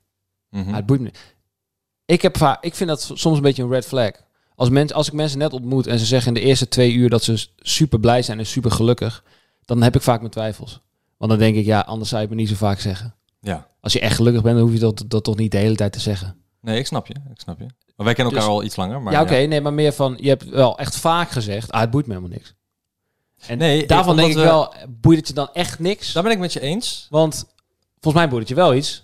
Speaker 1: Mhm.
Speaker 3: Ah, het boeit me niet. Ik, heb va- ik vind dat s- soms een beetje een red flag. Als, mens, als ik mensen net ontmoet en ze zeggen in de eerste twee uur dat ze s- super blij zijn en super gelukkig, dan heb ik vaak mijn twijfels. Want dan denk ik, ja, anders zou je het me niet zo vaak zeggen.
Speaker 1: Ja.
Speaker 3: Als je echt gelukkig bent, dan hoef je dat, dat toch niet de hele tijd te zeggen.
Speaker 1: Nee, ik snap je. Ik snap je. Maar wij kennen elkaar
Speaker 3: Dus-
Speaker 1: al iets langer. Maar
Speaker 3: ja, oké, nee, maar meer van, je hebt wel echt vaak gezegd, ah, het boeit me helemaal niks. En
Speaker 1: Nee,
Speaker 3: daarvan
Speaker 1: omdat
Speaker 3: denk ik
Speaker 1: we-
Speaker 3: wel, boeit het je dan echt niks?
Speaker 1: Daar ben ik met je eens.
Speaker 3: Want volgens mij boeit het je wel iets.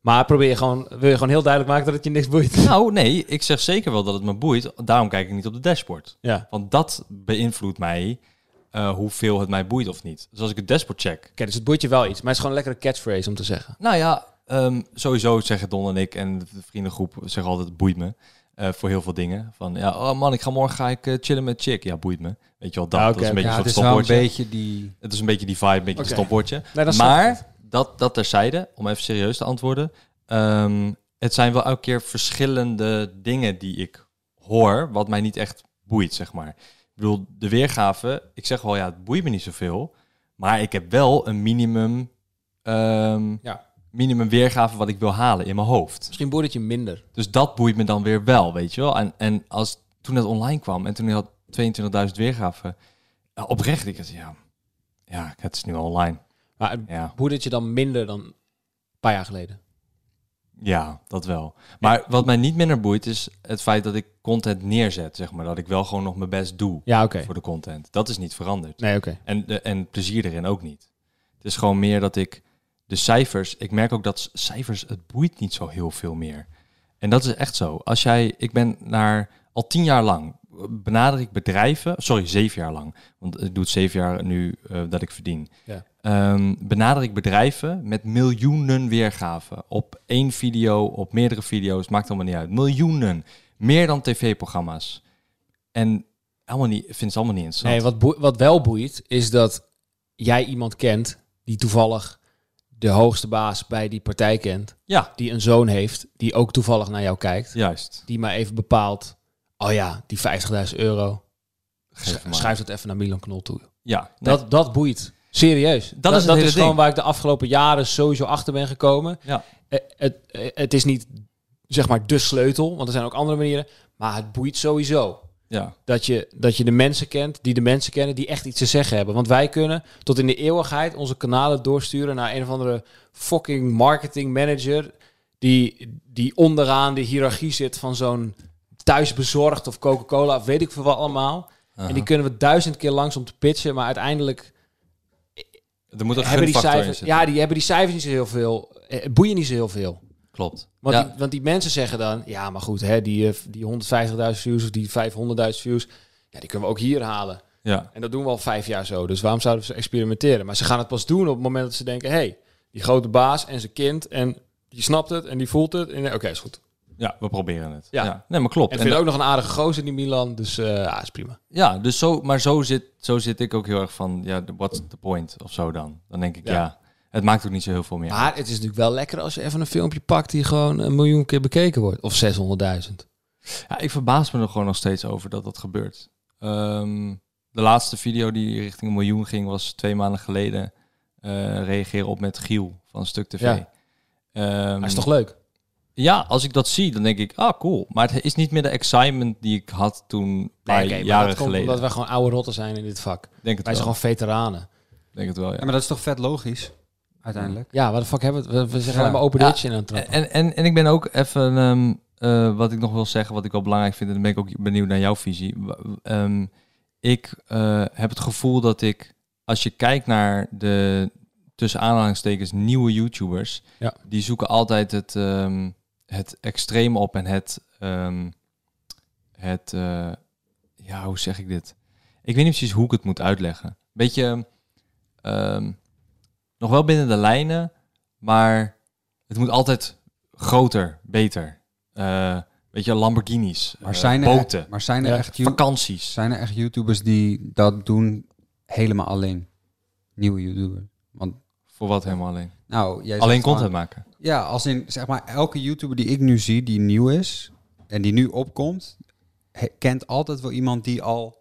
Speaker 3: Maar probeer je gewoon, wil je gewoon heel duidelijk maken dat het je niks boeit.
Speaker 1: Nou, nee, ik zeg zeker wel dat het me boeit. Daarom kijk ik niet op de dashboard.
Speaker 3: Ja.
Speaker 1: Want dat beïnvloedt mij eh, hoeveel het mij boeit of niet. Dus als ik het dashboard check.
Speaker 3: Oké, dus het boeit je wel iets, maar het is gewoon een lekkere catchphrase om te zeggen.
Speaker 1: Nou ja, ehm, sowieso zeggen Don en ik en de vriendengroep zeggen altijd het boeit me. eh, voor heel veel dingen. Van ja, oh man, ik ga morgen ga ik eh, chillen met chick. Ja, boeit me. Weet je wel, dat,
Speaker 3: Ja,
Speaker 1: dat is
Speaker 3: oké,
Speaker 1: een beetje
Speaker 2: Ja,
Speaker 1: zo'n
Speaker 2: het is wel een
Speaker 1: stopwoordje.
Speaker 2: beetje die...
Speaker 1: Het is een beetje die vibe, een beetje
Speaker 3: Oké.
Speaker 1: een stopwoordje.
Speaker 3: Nee, dat snap ik
Speaker 1: maar dat, dat terzijde, om even serieus te antwoorden. ehm, het zijn wel elke keer verschillende dingen die ik hoor, wat mij niet echt boeit, zeg maar. Ik bedoel, de weergave, ik zeg wel, ja, het boeit me niet zoveel. Maar ik heb wel een minimum, ehm,
Speaker 3: Ja.
Speaker 1: minimum weergave wat ik wil halen in mijn hoofd.
Speaker 3: Misschien boeit het je minder.
Speaker 1: Dus dat boeit me dan weer wel, weet je wel. En, en als, toen het online kwam en toen hij had 22.000 weergaven, eh, oprecht, ik dacht, ja, ja, het is nu online.
Speaker 3: Maar het
Speaker 1: Ja,
Speaker 3: boeit het je dan minder dan een paar jaar geleden?
Speaker 1: ja dat wel. Maar wat mij niet minder boeit is het feit dat ik content neerzet, zeg maar. Dat ik wel gewoon nog mijn best doe
Speaker 3: Ja, oké.
Speaker 1: voor de content. Dat is niet veranderd.
Speaker 3: Nee, oké.
Speaker 1: En, de, en plezier erin ook niet. Het is gewoon meer dat ik de cijfers, ik merk ook dat c- cijfers, het boeit niet zo heel veel meer. En dat is echt zo. Als jij, ik ben naar al tien jaar lang eh, benader ik bedrijven, sorry, zeven jaar lang, want ik doe het zeven jaar nu eh, dat ik verdien.
Speaker 3: Ja.
Speaker 1: Ehm, benader ik bedrijven met miljoenen weergaven op één video, op meerdere video's, maakt allemaal niet uit. Miljoenen, meer dan tv-programma's. En allemaal niet, vind het allemaal niet interessant.
Speaker 3: Nee, wat, boe- wat wel boeit is dat jij iemand kent die toevallig de hoogste baas bij die partij kent.
Speaker 1: Ja.
Speaker 3: Die een zoon heeft, die ook toevallig naar jou kijkt.
Speaker 1: Juist.
Speaker 3: Die maar even bepaalt, oh ja, die 50.000 euro,
Speaker 1: Geef
Speaker 3: sch-
Speaker 1: maar.
Speaker 3: schuif dat even naar Milan Knol toe.
Speaker 1: Ja, nee.
Speaker 3: Dat, dat boeit. Serieus. Dat,
Speaker 1: is het
Speaker 3: dat
Speaker 1: hele
Speaker 3: is gewoon
Speaker 1: ding.
Speaker 3: waar ik de afgelopen jaren sowieso achter ben gekomen.
Speaker 1: Ja.
Speaker 3: Eh, Het, eh, het is niet zeg maar de sleutel, want er zijn ook andere manieren. Maar het boeit sowieso.
Speaker 1: ja.
Speaker 3: Dat je, dat je de mensen kent die de mensen kennen die echt iets te zeggen hebben. Want wij kunnen tot in de eeuwigheid onze kanalen doorsturen naar een of andere fucking marketing manager. Die, die onderaan de hiërarchie zit van zo'n thuisbezorgd of Coca-Cola of weet ik veel wat allemaal. En die kunnen we duizend keer langs om te pitchen. Maar uiteindelijk
Speaker 1: Er moet een
Speaker 3: hebben
Speaker 1: gunfactor
Speaker 3: die
Speaker 1: in
Speaker 3: cijfers,
Speaker 1: zitten.
Speaker 3: ja, die hebben die cijfers niet zo heel veel. eh, boeien niet zo heel veel.
Speaker 1: Klopt.
Speaker 3: Want,
Speaker 1: ja,
Speaker 3: die, want die mensen zeggen dan, ja, maar goed, hè, die, eh, die 150.000 views of die 500.000 views, ja, die kunnen we ook hier halen.
Speaker 1: ja,
Speaker 3: En dat doen we al vijf jaar zo. Dus waarom zouden we ze experimenteren? Maar ze gaan het pas doen op het moment dat ze denken, hé, hey, die grote baas en zijn kind en die snapt het en die voelt het. En oké, is goed.
Speaker 1: ja, we proberen het.
Speaker 3: Ja.
Speaker 1: Ja. Nee, maar klopt.
Speaker 3: En
Speaker 1: En
Speaker 3: vind ook nog een aardige gozer die Milan, dus eh, ja, is prima.
Speaker 1: dat- ja, dus zo, maar zo zit, zo zit ik ook heel erg van, ja, what's the point of zo dan? Dan denk ik,
Speaker 3: Ja.
Speaker 1: ja, het maakt ook niet zo heel veel meer. uit.
Speaker 3: Maar het is natuurlijk wel lekker als je even een filmpje pakt die gewoon een miljoen keer bekeken wordt. Of 600.000.
Speaker 1: Ja, ik verbaas me er gewoon nog steeds over dat dat gebeurt. Ehm, de laatste video die richting een miljoen ging was twee maanden geleden. eh reageer op met Giel van Stuk TV.
Speaker 3: Ja.
Speaker 1: Ehm,
Speaker 3: Dat is toch leuk?
Speaker 1: Ja, als ik dat zie, dan denk ik, ah, cool. Maar het is niet meer de excitement die ik had toen, een paar
Speaker 3: oké, maar
Speaker 1: jaren
Speaker 3: dat komt
Speaker 1: geleden.
Speaker 3: omdat wij gewoon oude rotten zijn in dit vak.
Speaker 1: Denk het wel.
Speaker 3: Wij zijn gewoon veteranen.
Speaker 1: Denk het wel, ja.
Speaker 2: Ja, maar dat is toch vet logisch, uiteindelijk?
Speaker 3: Ja, wat de fuck hebben we? het- We, we zeggen
Speaker 2: Ja.
Speaker 3: alleen maar open
Speaker 1: Ja,
Speaker 3: ditje in aan het trappen.
Speaker 1: En, en, en ik ben ook even... ehm, eh, wat ik nog wil zeggen, wat ik wel belangrijk vind, en dan ben ik ook benieuwd naar jouw visie. W- ehm, ik eh, heb het gevoel dat ik, als je kijkt naar de tussen aanhalingstekens nieuwe YouTubers,
Speaker 3: Ja.
Speaker 1: die zoeken altijd het, ehm, het extreem op en het, ehm, het eh, ja, hoe zeg ik dit? Ik weet niet precies hoe ik het moet uitleggen. Beetje, ehm, nog wel binnen de lijnen, maar het moet altijd groter, beter. Eh, weet je, Lamborghinis,
Speaker 2: Maar
Speaker 1: eh,
Speaker 2: zijn er,
Speaker 1: boten,
Speaker 2: maar zijn er
Speaker 3: Ja.
Speaker 2: echt you-
Speaker 1: vakanties.
Speaker 2: Zijn er echt YouTubers die dat doen helemaal alleen? Nieuwe YouTubers. Want,
Speaker 1: Voor wat helemaal alleen?
Speaker 2: nou, jij
Speaker 1: Alleen
Speaker 2: zegt
Speaker 1: content
Speaker 2: van-
Speaker 1: maken.
Speaker 2: Ja, als in zeg maar elke YouTuber die ik nu zie die nieuw is en die nu opkomt, he- kent altijd wel iemand die al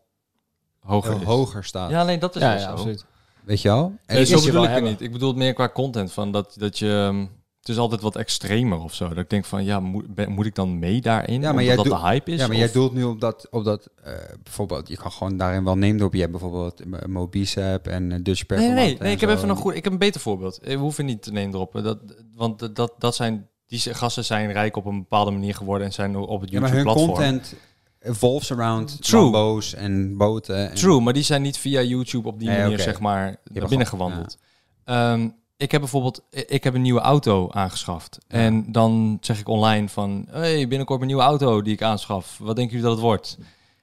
Speaker 1: Hoger.
Speaker 2: hoger,
Speaker 1: is.
Speaker 2: staat.
Speaker 1: Ja, alleen dat is
Speaker 3: Ja,
Speaker 1: wel
Speaker 3: ja,
Speaker 1: zo.
Speaker 3: absoluut.
Speaker 2: Weet je wel? En
Speaker 1: Nee,
Speaker 3: is
Speaker 1: zo
Speaker 3: je
Speaker 1: bedoel
Speaker 3: wel
Speaker 1: ik het
Speaker 3: hebben.
Speaker 1: niet. Ik bedoel het meer qua content. Van dat, dat je, ehm, het is altijd wat extremer of zo. Dat ik denk van, ja, moet, ben- moet ik dan mee daarin?
Speaker 2: Ja, maar
Speaker 1: omdat
Speaker 2: jij
Speaker 1: dat
Speaker 2: doe-
Speaker 1: de hype is?
Speaker 2: ja, maar
Speaker 1: Of-
Speaker 2: jij doelt nu op dat, op dat eh, bijvoorbeeld, je kan gewoon daarin wel nemen op. Je hebt bijvoorbeeld eh, Mobicep en eh, Dutch
Speaker 1: Nee,
Speaker 2: Performance.
Speaker 1: nee, nee, nee,
Speaker 2: en
Speaker 1: ik heb
Speaker 2: zo.
Speaker 1: even een goed, ik heb een beter voorbeeld. Eh, We hoeven niet te nemen erop. Dat, want dat, dat zijn, die gasten zijn rijk op een bepaalde manier geworden en zijn op het
Speaker 2: Ja, maar hun
Speaker 1: YouTube-platform.
Speaker 2: content evolves around
Speaker 1: True.
Speaker 2: Lambo's en boten. En,
Speaker 3: Hmm.
Speaker 1: True, maar die zijn niet via YouTube op die
Speaker 2: Nee,
Speaker 1: manier,
Speaker 2: oké.
Speaker 1: zeg maar, naar
Speaker 2: hebt
Speaker 1: binnen
Speaker 2: gewoon-
Speaker 1: gewandeld. Ehm, ik heb bijvoorbeeld, i- ik heb een nieuwe auto aangeschaft. En dan zeg ik online van, hey, binnenkort mijn nieuwe auto die ik aanschaf. Wat denken jullie dat het wordt?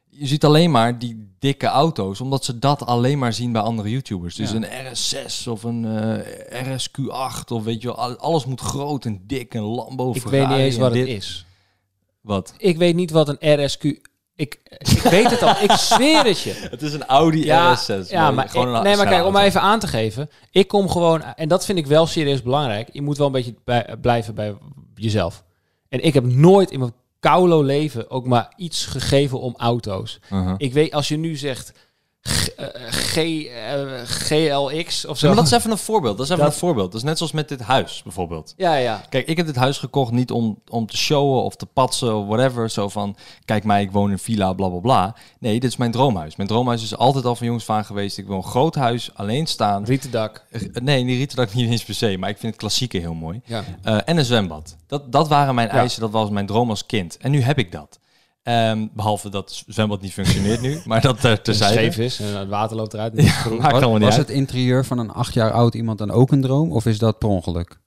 Speaker 1: Je ziet alleen maar die dikke auto's, omdat ze dat alleen maar zien bij andere YouTubers. Dus
Speaker 2: Ja.
Speaker 1: een RS6 of een eh, RSQ8 of weet je wel, al- alles moet groot en dik en Lambo.
Speaker 3: Ik
Speaker 1: Ferrari
Speaker 3: weet niet eens
Speaker 1: en
Speaker 3: wat het
Speaker 1: dit.
Speaker 3: is.
Speaker 1: Wat?
Speaker 3: Ik weet niet wat een RSQ... Ik, ik weet het al, ik zweer het je.
Speaker 1: Het is een Audi
Speaker 3: Ja,
Speaker 1: RS6.
Speaker 3: ja maar, ik- nee, maar kijk, om maar even aan te geven. Ik kom gewoon, en dat vind ik wel serieus belangrijk. Je moet wel een beetje bij- blijven bij jezelf. En ik heb nooit in mijn koulo leven ook maar iets gegeven om auto's.
Speaker 1: Uh-huh.
Speaker 3: Ik weet, als je nu zegt G, eh, G, eh, GLX of zo.
Speaker 1: maar dat is even een voorbeeld. Dat is even
Speaker 3: Dat-
Speaker 1: een voorbeeld. Dat is net zoals met dit huis bijvoorbeeld.
Speaker 3: Ja, ja.
Speaker 1: Kijk, ik heb dit huis gekocht niet om, om te showen of te patsen of whatever. Zo van, kijk mij, ik woon in een villa, bla bla bla. Nee, dit is mijn droomhuis. Mijn droomhuis is altijd al van jongs van geweest. Ik wil een groot huis, alleen staan.
Speaker 3: Rietendak.
Speaker 1: Nee, die rieten dat niet eens per se, maar ik vind het klassieke heel mooi.
Speaker 3: Ja.
Speaker 1: Eh, en een zwembad. Dat, dat waren mijn eisen, dat was mijn droom als kind. En nu heb ik dat. Ehm, behalve dat het zwembad niet functioneert nu, maar dat er
Speaker 3: Scheef
Speaker 1: terzijde.
Speaker 3: is en het water loopt eruit.
Speaker 1: Maakt allemaal niet
Speaker 2: Was
Speaker 1: uit.
Speaker 2: het interieur van een acht jaar oud iemand dan ook een droom? Of is dat per ongeluk?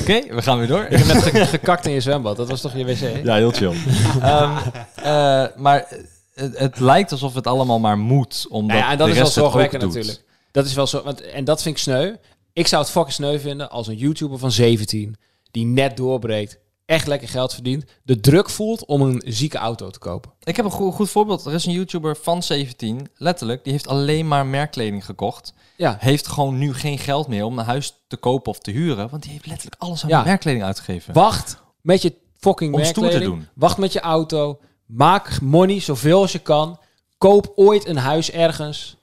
Speaker 1: Oké, we gaan weer door.
Speaker 3: Ik heb net ge- gekakt in je zwembad. Dat was toch je wc?
Speaker 1: Ja, heel chill. Ehm, eh, maar het, het lijkt alsof het allemaal maar moet. Omdat
Speaker 3: Nou ja, en dat
Speaker 1: de
Speaker 3: is wel
Speaker 1: rest het ook
Speaker 3: zorgwekkend
Speaker 1: doet.
Speaker 3: natuurlijk. Dat is wel zo, want, en dat vind ik sneu. Ik zou het fucking sneu vinden als een YouTuber van 17 die net doorbreekt, echt lekker geld verdient, de druk voelt om een zieke auto te kopen.
Speaker 1: Ik heb een goed, goed voorbeeld. Er is een YouTuber van 17, letterlijk, die heeft alleen maar merkkleding gekocht.
Speaker 3: Ja,
Speaker 1: Heeft gewoon nu geen geld meer om een huis te kopen of te huren. Want die heeft letterlijk alles aan
Speaker 3: Ja.
Speaker 1: merkkleding uitgegeven.
Speaker 3: wacht met je fucking
Speaker 1: Om stoer te
Speaker 3: merkkleding.
Speaker 1: doen.
Speaker 3: Wacht met je auto. Maak money zoveel als je kan. Koop ooit een huis ergens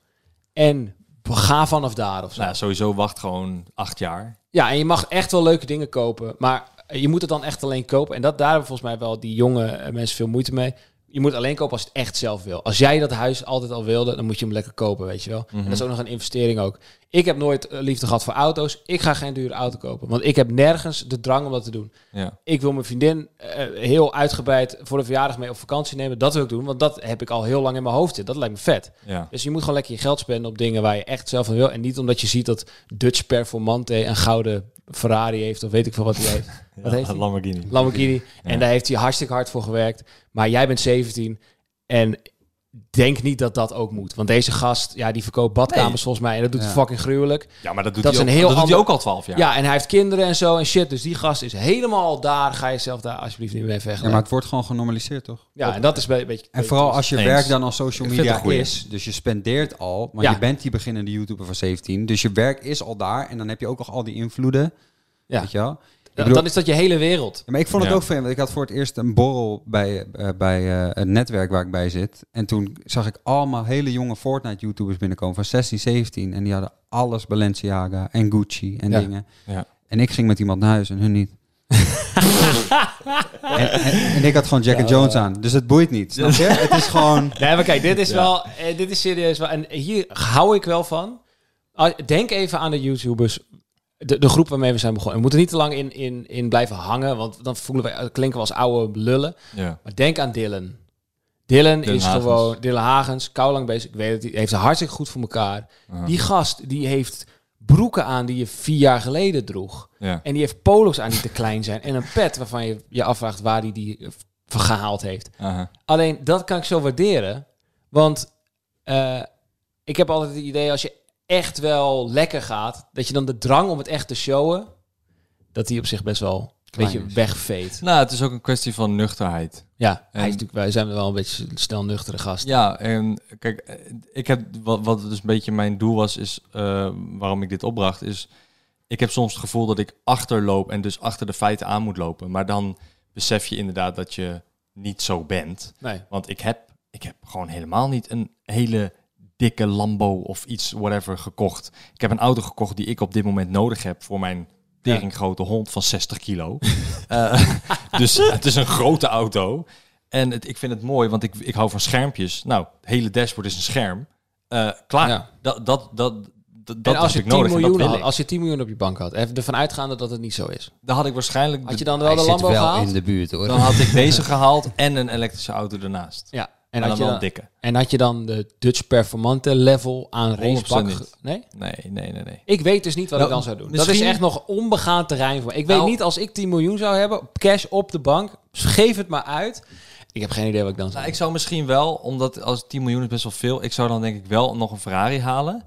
Speaker 3: en ga vanaf daar of zo.
Speaker 1: Nou, sowieso wacht gewoon acht jaar.
Speaker 3: Ja, en je mag echt wel leuke dingen kopen. Maar je moet het dan echt alleen kopen. En dat, daar hebben volgens mij wel die jonge eh, mensen veel moeite mee. Je moet het alleen kopen als je het echt zelf wil. Als jij dat huis altijd al wilde, dan moet je hem lekker kopen, weet je wel. En dat is ook nog een investering ook. Ik heb nooit eh, liefde gehad voor auto's. Ik ga geen dure auto kopen. Want ik heb nergens de drang om dat te doen.
Speaker 1: Ja.
Speaker 3: Ik wil mijn vriendin eh, heel uitgebreid voor de verjaardag mee op vakantie nemen. Dat wil ik doen, want dat heb ik al heel lang in mijn hoofd zitten. Dat lijkt me vet.
Speaker 1: ja.
Speaker 3: Dus je moet gewoon lekker je geld spenden op dingen waar je echt zelf van wil. En niet omdat je ziet dat Dutch Performante een gouden Ferrari heeft of weet ik veel wat hij heeft. Wat heeft hij?
Speaker 1: Lamborghini.
Speaker 3: Lamborghini. En daar heeft hij hartstikke hard voor gewerkt. Maar jij bent 17 en denk niet dat dat ook moet. Want deze gast, ja, die verkoopt badkamers
Speaker 1: Nee.
Speaker 3: volgens mij. En dat doet hij
Speaker 2: Ja.
Speaker 3: fucking gruwelijk.
Speaker 1: Ja, maar dat doet,
Speaker 3: Dat
Speaker 1: hij,
Speaker 3: is
Speaker 1: ook,
Speaker 3: een heel
Speaker 1: dat doet hij
Speaker 3: ander-
Speaker 1: ook al twaalf jaar.
Speaker 3: Ja. en hij heeft kinderen en zo en shit. Dus die gast is helemaal daar. Ga jezelf daar alsjeblieft niet mee
Speaker 2: Ja,
Speaker 3: vechten. Ja,
Speaker 2: maar het wordt gewoon genormaliseerd, toch?
Speaker 3: en dat is bij- een beetje...
Speaker 2: En vooral als je
Speaker 1: Eens.
Speaker 2: werk dan al social
Speaker 1: Ik vind het
Speaker 2: media
Speaker 1: een goeie.
Speaker 2: is, dus je spendeert al, want
Speaker 3: Ja.
Speaker 2: je bent die beginnende YouTuber van 17, dus je werk is al daar en dan heb je ook nog al die invloeden,
Speaker 3: Ja.
Speaker 2: weet je wel? Ik
Speaker 3: Dan-
Speaker 2: bedoel-
Speaker 3: Dan is dat je hele wereld.
Speaker 2: Ja, maar ik vond het
Speaker 1: Ja.
Speaker 2: ook vreemd, want ik had voor het eerst een borrel bij, eh, bij eh, het netwerk waar ik bij zit. En toen zag ik allemaal hele jonge Fortnite-YouTubers binnenkomen van 16, 17. En die hadden alles Balenciaga en Gucci en
Speaker 3: Ja.
Speaker 2: dingen.
Speaker 1: Ja.
Speaker 2: En ik ging met iemand naar huis en hun niet. en, en- en ik had gewoon Jack and Jones aan, dus het boeit niet. Snap je? het is gewoon...
Speaker 3: Nee, maar kijk, dit is wel, eh, dit is serieus wel. En hier hou ik wel van. Ah, Denk even aan de YouTubers de, de groep waarmee we zijn begonnen. We moeten niet te lang in, in, in blijven hangen, want dan voelen we, eh, klinken we als oude lullen.
Speaker 1: Ja.
Speaker 3: Maar denk aan Dylan. Dylan
Speaker 1: Dylan
Speaker 3: is
Speaker 1: Hagens.
Speaker 3: gewoon... Dylan Hagens, kou lang bezig. Ik weet het, die heeft het hartstikke goed voor elkaar. Die gast, die heeft broeken aan die je vier jaar geleden droeg.
Speaker 1: Ja.
Speaker 3: En die heeft polo's aan die te klein zijn. En een pet waarvan je je afvraagt waar hij die, eh, van gehaald heeft.
Speaker 1: Aha.
Speaker 3: Alleen, dat kan ik zo waarderen. Want eh, ik heb altijd het idee, als je echt wel lekker gaat... dat je dan de drang om het echt te showen... dat die op zich best wel een
Speaker 2: Klein
Speaker 3: beetje
Speaker 2: is.
Speaker 3: wegveet.
Speaker 1: Nou, het is ook een kwestie van nuchterheid.
Speaker 3: Ja,
Speaker 1: En-
Speaker 3: hij is natuurlijk, wij zijn wel een beetje snel nuchtere gasten.
Speaker 1: Ja, en kijk, eh, ik heb wat, wat dus een beetje mijn doel was, is eh, waarom ik dit opbracht, is ik heb soms het gevoel dat ik achterloop en dus achter de feiten aan moet lopen. Maar dan besef je inderdaad dat je niet zo bent.
Speaker 3: Nee.
Speaker 1: Want ik heb, ik heb gewoon helemaal niet een hele dikke Lambo of iets, whatever, gekocht. Ik heb een auto gekocht die ik op dit moment nodig heb voor mijn teringgrote hond van 60 kilo. Eh, dus het is een grote auto. En het, ik vind het mooi, want ik, ik hou van schermpjes. Nou, het hele dashboard is een scherm. Eh, klaar.
Speaker 3: Ja.
Speaker 1: Dat, dat, dat, dat, dat
Speaker 3: en als
Speaker 1: heb
Speaker 3: je,
Speaker 1: ik
Speaker 3: 10
Speaker 1: nodig en dat
Speaker 3: miljoen,
Speaker 1: wil
Speaker 3: had,
Speaker 1: ik.
Speaker 3: als je 10 miljoen op je bank had, even ervan uitgaande dat het niet zo is.
Speaker 1: Dan had ik waarschijnlijk...
Speaker 3: Had
Speaker 1: de-
Speaker 3: je dan wel
Speaker 2: Hij
Speaker 3: de
Speaker 2: zit
Speaker 3: Lambo
Speaker 2: wel
Speaker 3: gehaald?
Speaker 2: in de buurt hoor.
Speaker 1: dan had ik deze gehaald en een elektrische auto ernaast.
Speaker 3: Ja.
Speaker 1: En dan
Speaker 3: En had, je
Speaker 1: wel een
Speaker 3: dan,
Speaker 1: dikke.
Speaker 3: en had je dan de Dutch Performante level aan
Speaker 1: 100%
Speaker 3: racepak?
Speaker 1: niet.
Speaker 3: ge- Nee?
Speaker 1: Nee, nee, nee, nee.
Speaker 3: Ik weet dus niet wat
Speaker 1: Nou,
Speaker 3: ik dan zou doen. Dat
Speaker 1: misschien-
Speaker 3: is echt nog onbegaan terrein voor me. Ik weet
Speaker 1: Nou-
Speaker 3: niet, als ik 10 miljoen zou hebben, cash op de bank, geef het maar uit. Ik heb geen idee wat ik dan zou
Speaker 1: Nou,
Speaker 3: doen.
Speaker 1: ik zou misschien wel, omdat als 10 miljoen is best wel veel, ik zou dan denk ik wel nog een Ferrari halen.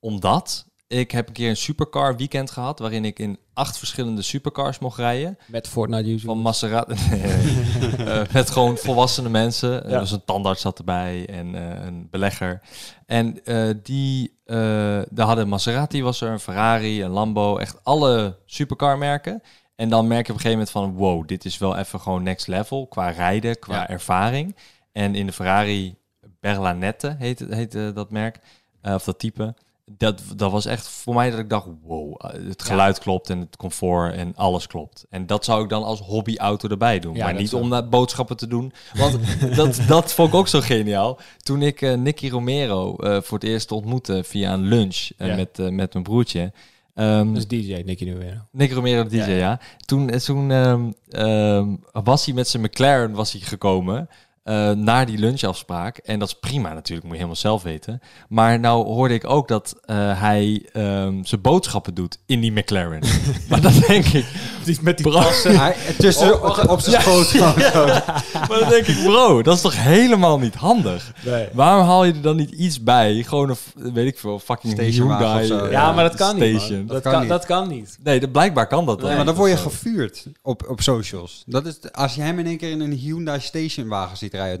Speaker 1: Omdat ik heb een keer een supercar weekend gehad, waarin ik in acht verschillende supercars mocht rijden.
Speaker 3: Met Fortnite YouTube.
Speaker 1: Van Maserati. Nee, nee. Eh, met gewoon volwassene mensen. Er was een tandarts zat erbij en eh, een belegger. En eh, die, eh, daar hadden Maserati was er, een Ferrari, een Lambo, echt alle supercarmerken. En dan merk je op een gegeven moment van, wow, dit is wel even gewoon next level qua rijden, qua
Speaker 3: Ja.
Speaker 1: ervaring. En in de Ferrari Berlanette heet, het- heet eh, dat merk, eh, of dat type. Dat, dat was echt voor mij dat ik dacht, wow, eh, het geluid klopt en het comfort en alles klopt. En dat zou ik dan als hobbyauto erbij doen.
Speaker 3: Ja,
Speaker 1: maar
Speaker 3: dat
Speaker 1: niet
Speaker 3: zou-
Speaker 1: om naar boodschappen te doen. Want dat, dat vond ik ook zo geniaal. Toen ik eh, Nicky Romero eh, voor het eerst ontmoette via een lunch eh,
Speaker 3: Ja.
Speaker 1: met, eh, met mijn broertje. Ehm,
Speaker 3: Dus DJ, Nicky nu weer.
Speaker 1: Nick Romero de DJ, ja. Toen, eh, toen ehm, ehm, was hij met zijn McLaren was hij gekomen eh, naar die lunchafspraak. En dat is prima natuurlijk, moet je helemaal zelf weten. Maar nou hoorde ik ook dat eh, hij ehm, zijn boodschappen doet in die McLaren. maar dat denk ik... Met die bro,
Speaker 2: Hij- tussen, op, op zijn schoot.
Speaker 1: Maar dan denk ik, bro, dat is toch helemaal niet handig? Waarom haal je er dan niet iets bij? Gewoon een, f- weet ik veel, fucking
Speaker 2: Stationwagen
Speaker 1: Hyundai.
Speaker 2: of zo.
Speaker 1: eh,
Speaker 3: Ja, maar dat kan niet.
Speaker 1: station.
Speaker 3: man.
Speaker 2: Dat
Speaker 3: Dat
Speaker 2: kan
Speaker 3: kan,
Speaker 2: niet.
Speaker 3: dat kan niet.
Speaker 1: Nee, dat, blijkbaar kan dat dan.
Speaker 2: Ja, maar dan word je
Speaker 1: Of zo.
Speaker 2: gevuurd op, op socials. Dat is de- als je hem in één keer in een Hyundai stationwagen ziet rijden uit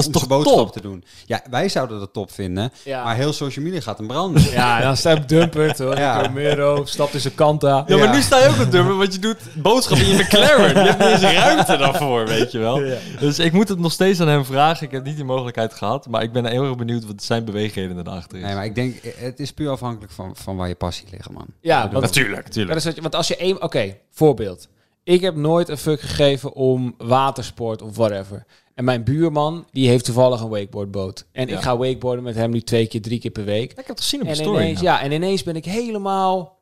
Speaker 1: Dat is
Speaker 2: om
Speaker 1: toch
Speaker 2: zijn
Speaker 1: top?
Speaker 2: boodschap te doen. Ja, wij zouden dat top vinden,
Speaker 3: Ja.
Speaker 2: maar heel social media gaat hem branden.
Speaker 3: Ja, dan staat Dumpert, hoor.
Speaker 2: Ja.
Speaker 3: Romero, stapt in zijn kanta.
Speaker 1: Ja, maar
Speaker 2: Ja.
Speaker 1: nu sta je ook op dummer, want je doet boodschappen in je McLaren. Je hebt niet eens ruimte daarvoor, weet je wel. Dus ik moet het nog steeds aan hem vragen. Ik heb niet die mogelijkheid gehad, maar ik ben heel erg benieuwd wat zijn beweegredenen erachter is.
Speaker 2: Nee, maar ik denk, eh, het is puur afhankelijk van, van waar je passie ligt, man.
Speaker 3: Ja, want
Speaker 1: Natuurlijk,
Speaker 3: Ja,
Speaker 1: natuurlijk.
Speaker 3: dat is wat je- want als je één... Oké, voorbeeld. Ik heb nooit een fuck gegeven om watersport of whatever. En mijn buurman, die heeft toevallig een wakeboardboot. En
Speaker 1: Ja.
Speaker 3: ik ga wakeboarden met hem nu twee keer, drie keer per week.
Speaker 1: Ik heb het gezien op
Speaker 3: En
Speaker 1: je story.
Speaker 3: ineens, ja, en ineens ben ik helemaal...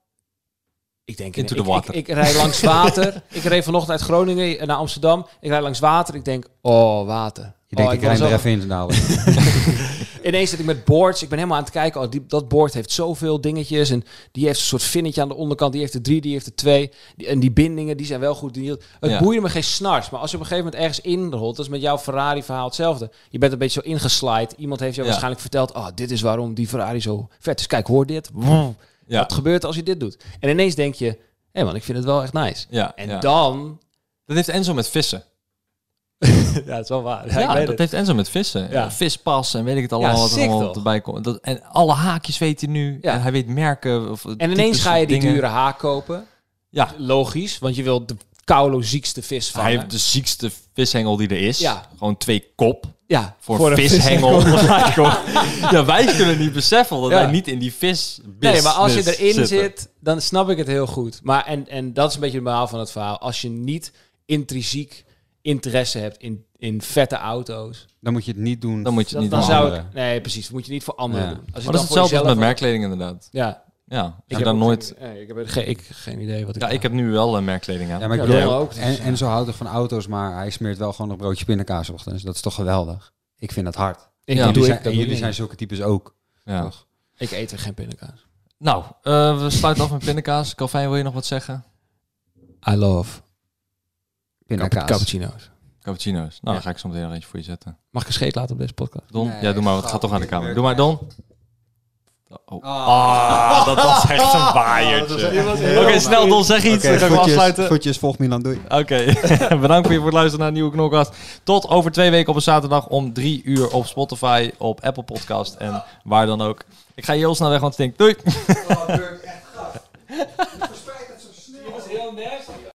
Speaker 3: Ik denk,
Speaker 1: Into
Speaker 3: ik,
Speaker 1: the water.
Speaker 3: Ik, ik, rijd langs water. ik reed vanochtend uit Groningen eh, naar Amsterdam. Ik rijd langs water. Ik denk, oh, water.
Speaker 2: Je denkt,
Speaker 3: oh,
Speaker 2: ik rij hem
Speaker 3: wil
Speaker 2: er
Speaker 3: zo-
Speaker 2: even in dadelijk.
Speaker 3: Ineens zit ik met boards. Ik ben helemaal aan het kijken. Oh, die, dat board heeft zoveel dingetjes. En die heeft een soort vinnetje aan de onderkant. Die heeft er drie, die heeft er twee. Die- en die bindingen, die zijn wel goed. Die, het
Speaker 1: Ja.
Speaker 3: boeide me geen snars. Maar als je op een gegeven moment ergens inrolt... dat is met jouw Ferrari-verhaal hetzelfde. Je bent een beetje zo ingeslide. Iemand heeft jou
Speaker 1: Ja.
Speaker 3: waarschijnlijk verteld... oh, dit is waarom die Ferrari zo vet is. Kijk, hoor dit.
Speaker 1: Ja,
Speaker 3: Wat gebeurt er als je dit doet? En ineens denk je... hé man, ik vind het wel echt nice.
Speaker 1: ja,
Speaker 3: En
Speaker 1: ja.
Speaker 3: dan...
Speaker 1: Dat heeft Enzo met vissen.
Speaker 3: Ja, het is wel waar. Ja,
Speaker 1: Ja,
Speaker 3: ik weet
Speaker 1: dat
Speaker 3: het.
Speaker 1: heeft Enzo met vissen.
Speaker 3: Ja.
Speaker 1: Vispas en weet ik het allemaal
Speaker 3: Ja,
Speaker 1: wat er
Speaker 3: sick
Speaker 1: allemaal
Speaker 3: toch?
Speaker 1: erbij komt. Dat, en alle haakjes weet hij nu.
Speaker 3: Ja.
Speaker 1: En hij weet merken. Of
Speaker 3: En ineens ga je die
Speaker 1: duren.
Speaker 3: dure haak kopen.
Speaker 1: Ja.
Speaker 3: Logisch, want je wilt de koulo ziekste vis
Speaker 1: Hij
Speaker 3: vangen.
Speaker 1: heeft de ziekste vishengel die er is.
Speaker 3: Ja.
Speaker 1: Gewoon twee kop.
Speaker 3: ja,
Speaker 1: voor,
Speaker 3: een
Speaker 1: vishengel. ja, wij kunnen niet beseffen dat
Speaker 3: Ja.
Speaker 1: wij niet in die vis
Speaker 3: Nee, maar als je erin
Speaker 1: zitten.
Speaker 3: zit, dan snap ik het heel goed. Maar en, en dat is een beetje de verhaal van het verhaal. Als je niet intrinsiek interesse hebt in, in vette auto's,
Speaker 2: Dan moet je het niet doen.
Speaker 1: dan moet je het
Speaker 3: dan,
Speaker 1: niet doen.
Speaker 3: dan
Speaker 2: voor
Speaker 3: zou
Speaker 2: anderen.
Speaker 3: ik. Nee, precies. Moet je niet voor anderen
Speaker 2: Ja.
Speaker 3: doen. Als je
Speaker 1: Maar dat is
Speaker 3: dan voor
Speaker 1: hetzelfde als met
Speaker 3: jezelf-
Speaker 1: merkkleding inderdaad.
Speaker 3: Ja,
Speaker 1: Ja,
Speaker 3: Ik
Speaker 1: en dan
Speaker 3: ook
Speaker 1: nooit...
Speaker 3: geen- eh, ik, heb er ge- ik geen idee wat ik...
Speaker 1: Ja, ik heb nu wel een merkkleding aan.
Speaker 2: Ja, maar
Speaker 3: Ja,
Speaker 2: ik bedoel,
Speaker 3: Dolan ook,
Speaker 2: en,
Speaker 3: dus-
Speaker 2: en zo houdt het van auto's, maar hij smeert wel gewoon een broodje pindakaas op. Dus dat is toch geweldig. Ik vind dat hard.
Speaker 3: Ik-
Speaker 1: Ja,
Speaker 3: dat
Speaker 2: jullie
Speaker 3: doe
Speaker 2: zijn,
Speaker 3: ik,
Speaker 2: en
Speaker 3: dat doe
Speaker 2: jullie
Speaker 3: ik
Speaker 2: zijn
Speaker 3: niet.
Speaker 2: zulke types ook.
Speaker 1: Ja.
Speaker 2: Toch?
Speaker 3: Ik eet er geen pindakaas.
Speaker 1: Nou, eh, we sluiten af met pindakaas. Calvin, wil je nog wat zeggen?
Speaker 3: I love
Speaker 2: Pindakaas.
Speaker 3: cappuccino's.
Speaker 1: Cappuccino's. Nou,
Speaker 3: Ja.
Speaker 1: dan ga ik zo meteen nog eentje voor je zetten.
Speaker 3: Mag ik een scheet laten op deze podcast?
Speaker 1: Don?
Speaker 2: Nee,
Speaker 1: ja, doe maar. Het
Speaker 2: grap,
Speaker 1: gaat toch aan de
Speaker 2: dit
Speaker 1: camera.
Speaker 2: werkt
Speaker 1: Doe maar, Don. Oh.
Speaker 2: Ah.
Speaker 1: Ah, dat was echt een waaiertje. Oké, snel Don, zeg iets. dan gaan we afsluiten.
Speaker 2: voetjes, volg Milan, doei.
Speaker 1: Oké, bedankt voor je voor het luisteren naar een nieuwe Knolkast. Tot over twee weken op een zaterdag om drie uur op Spotify, op Apple Podcast en waar dan ook. Ik ga hier heel snel weg, want het stinkt. Doei!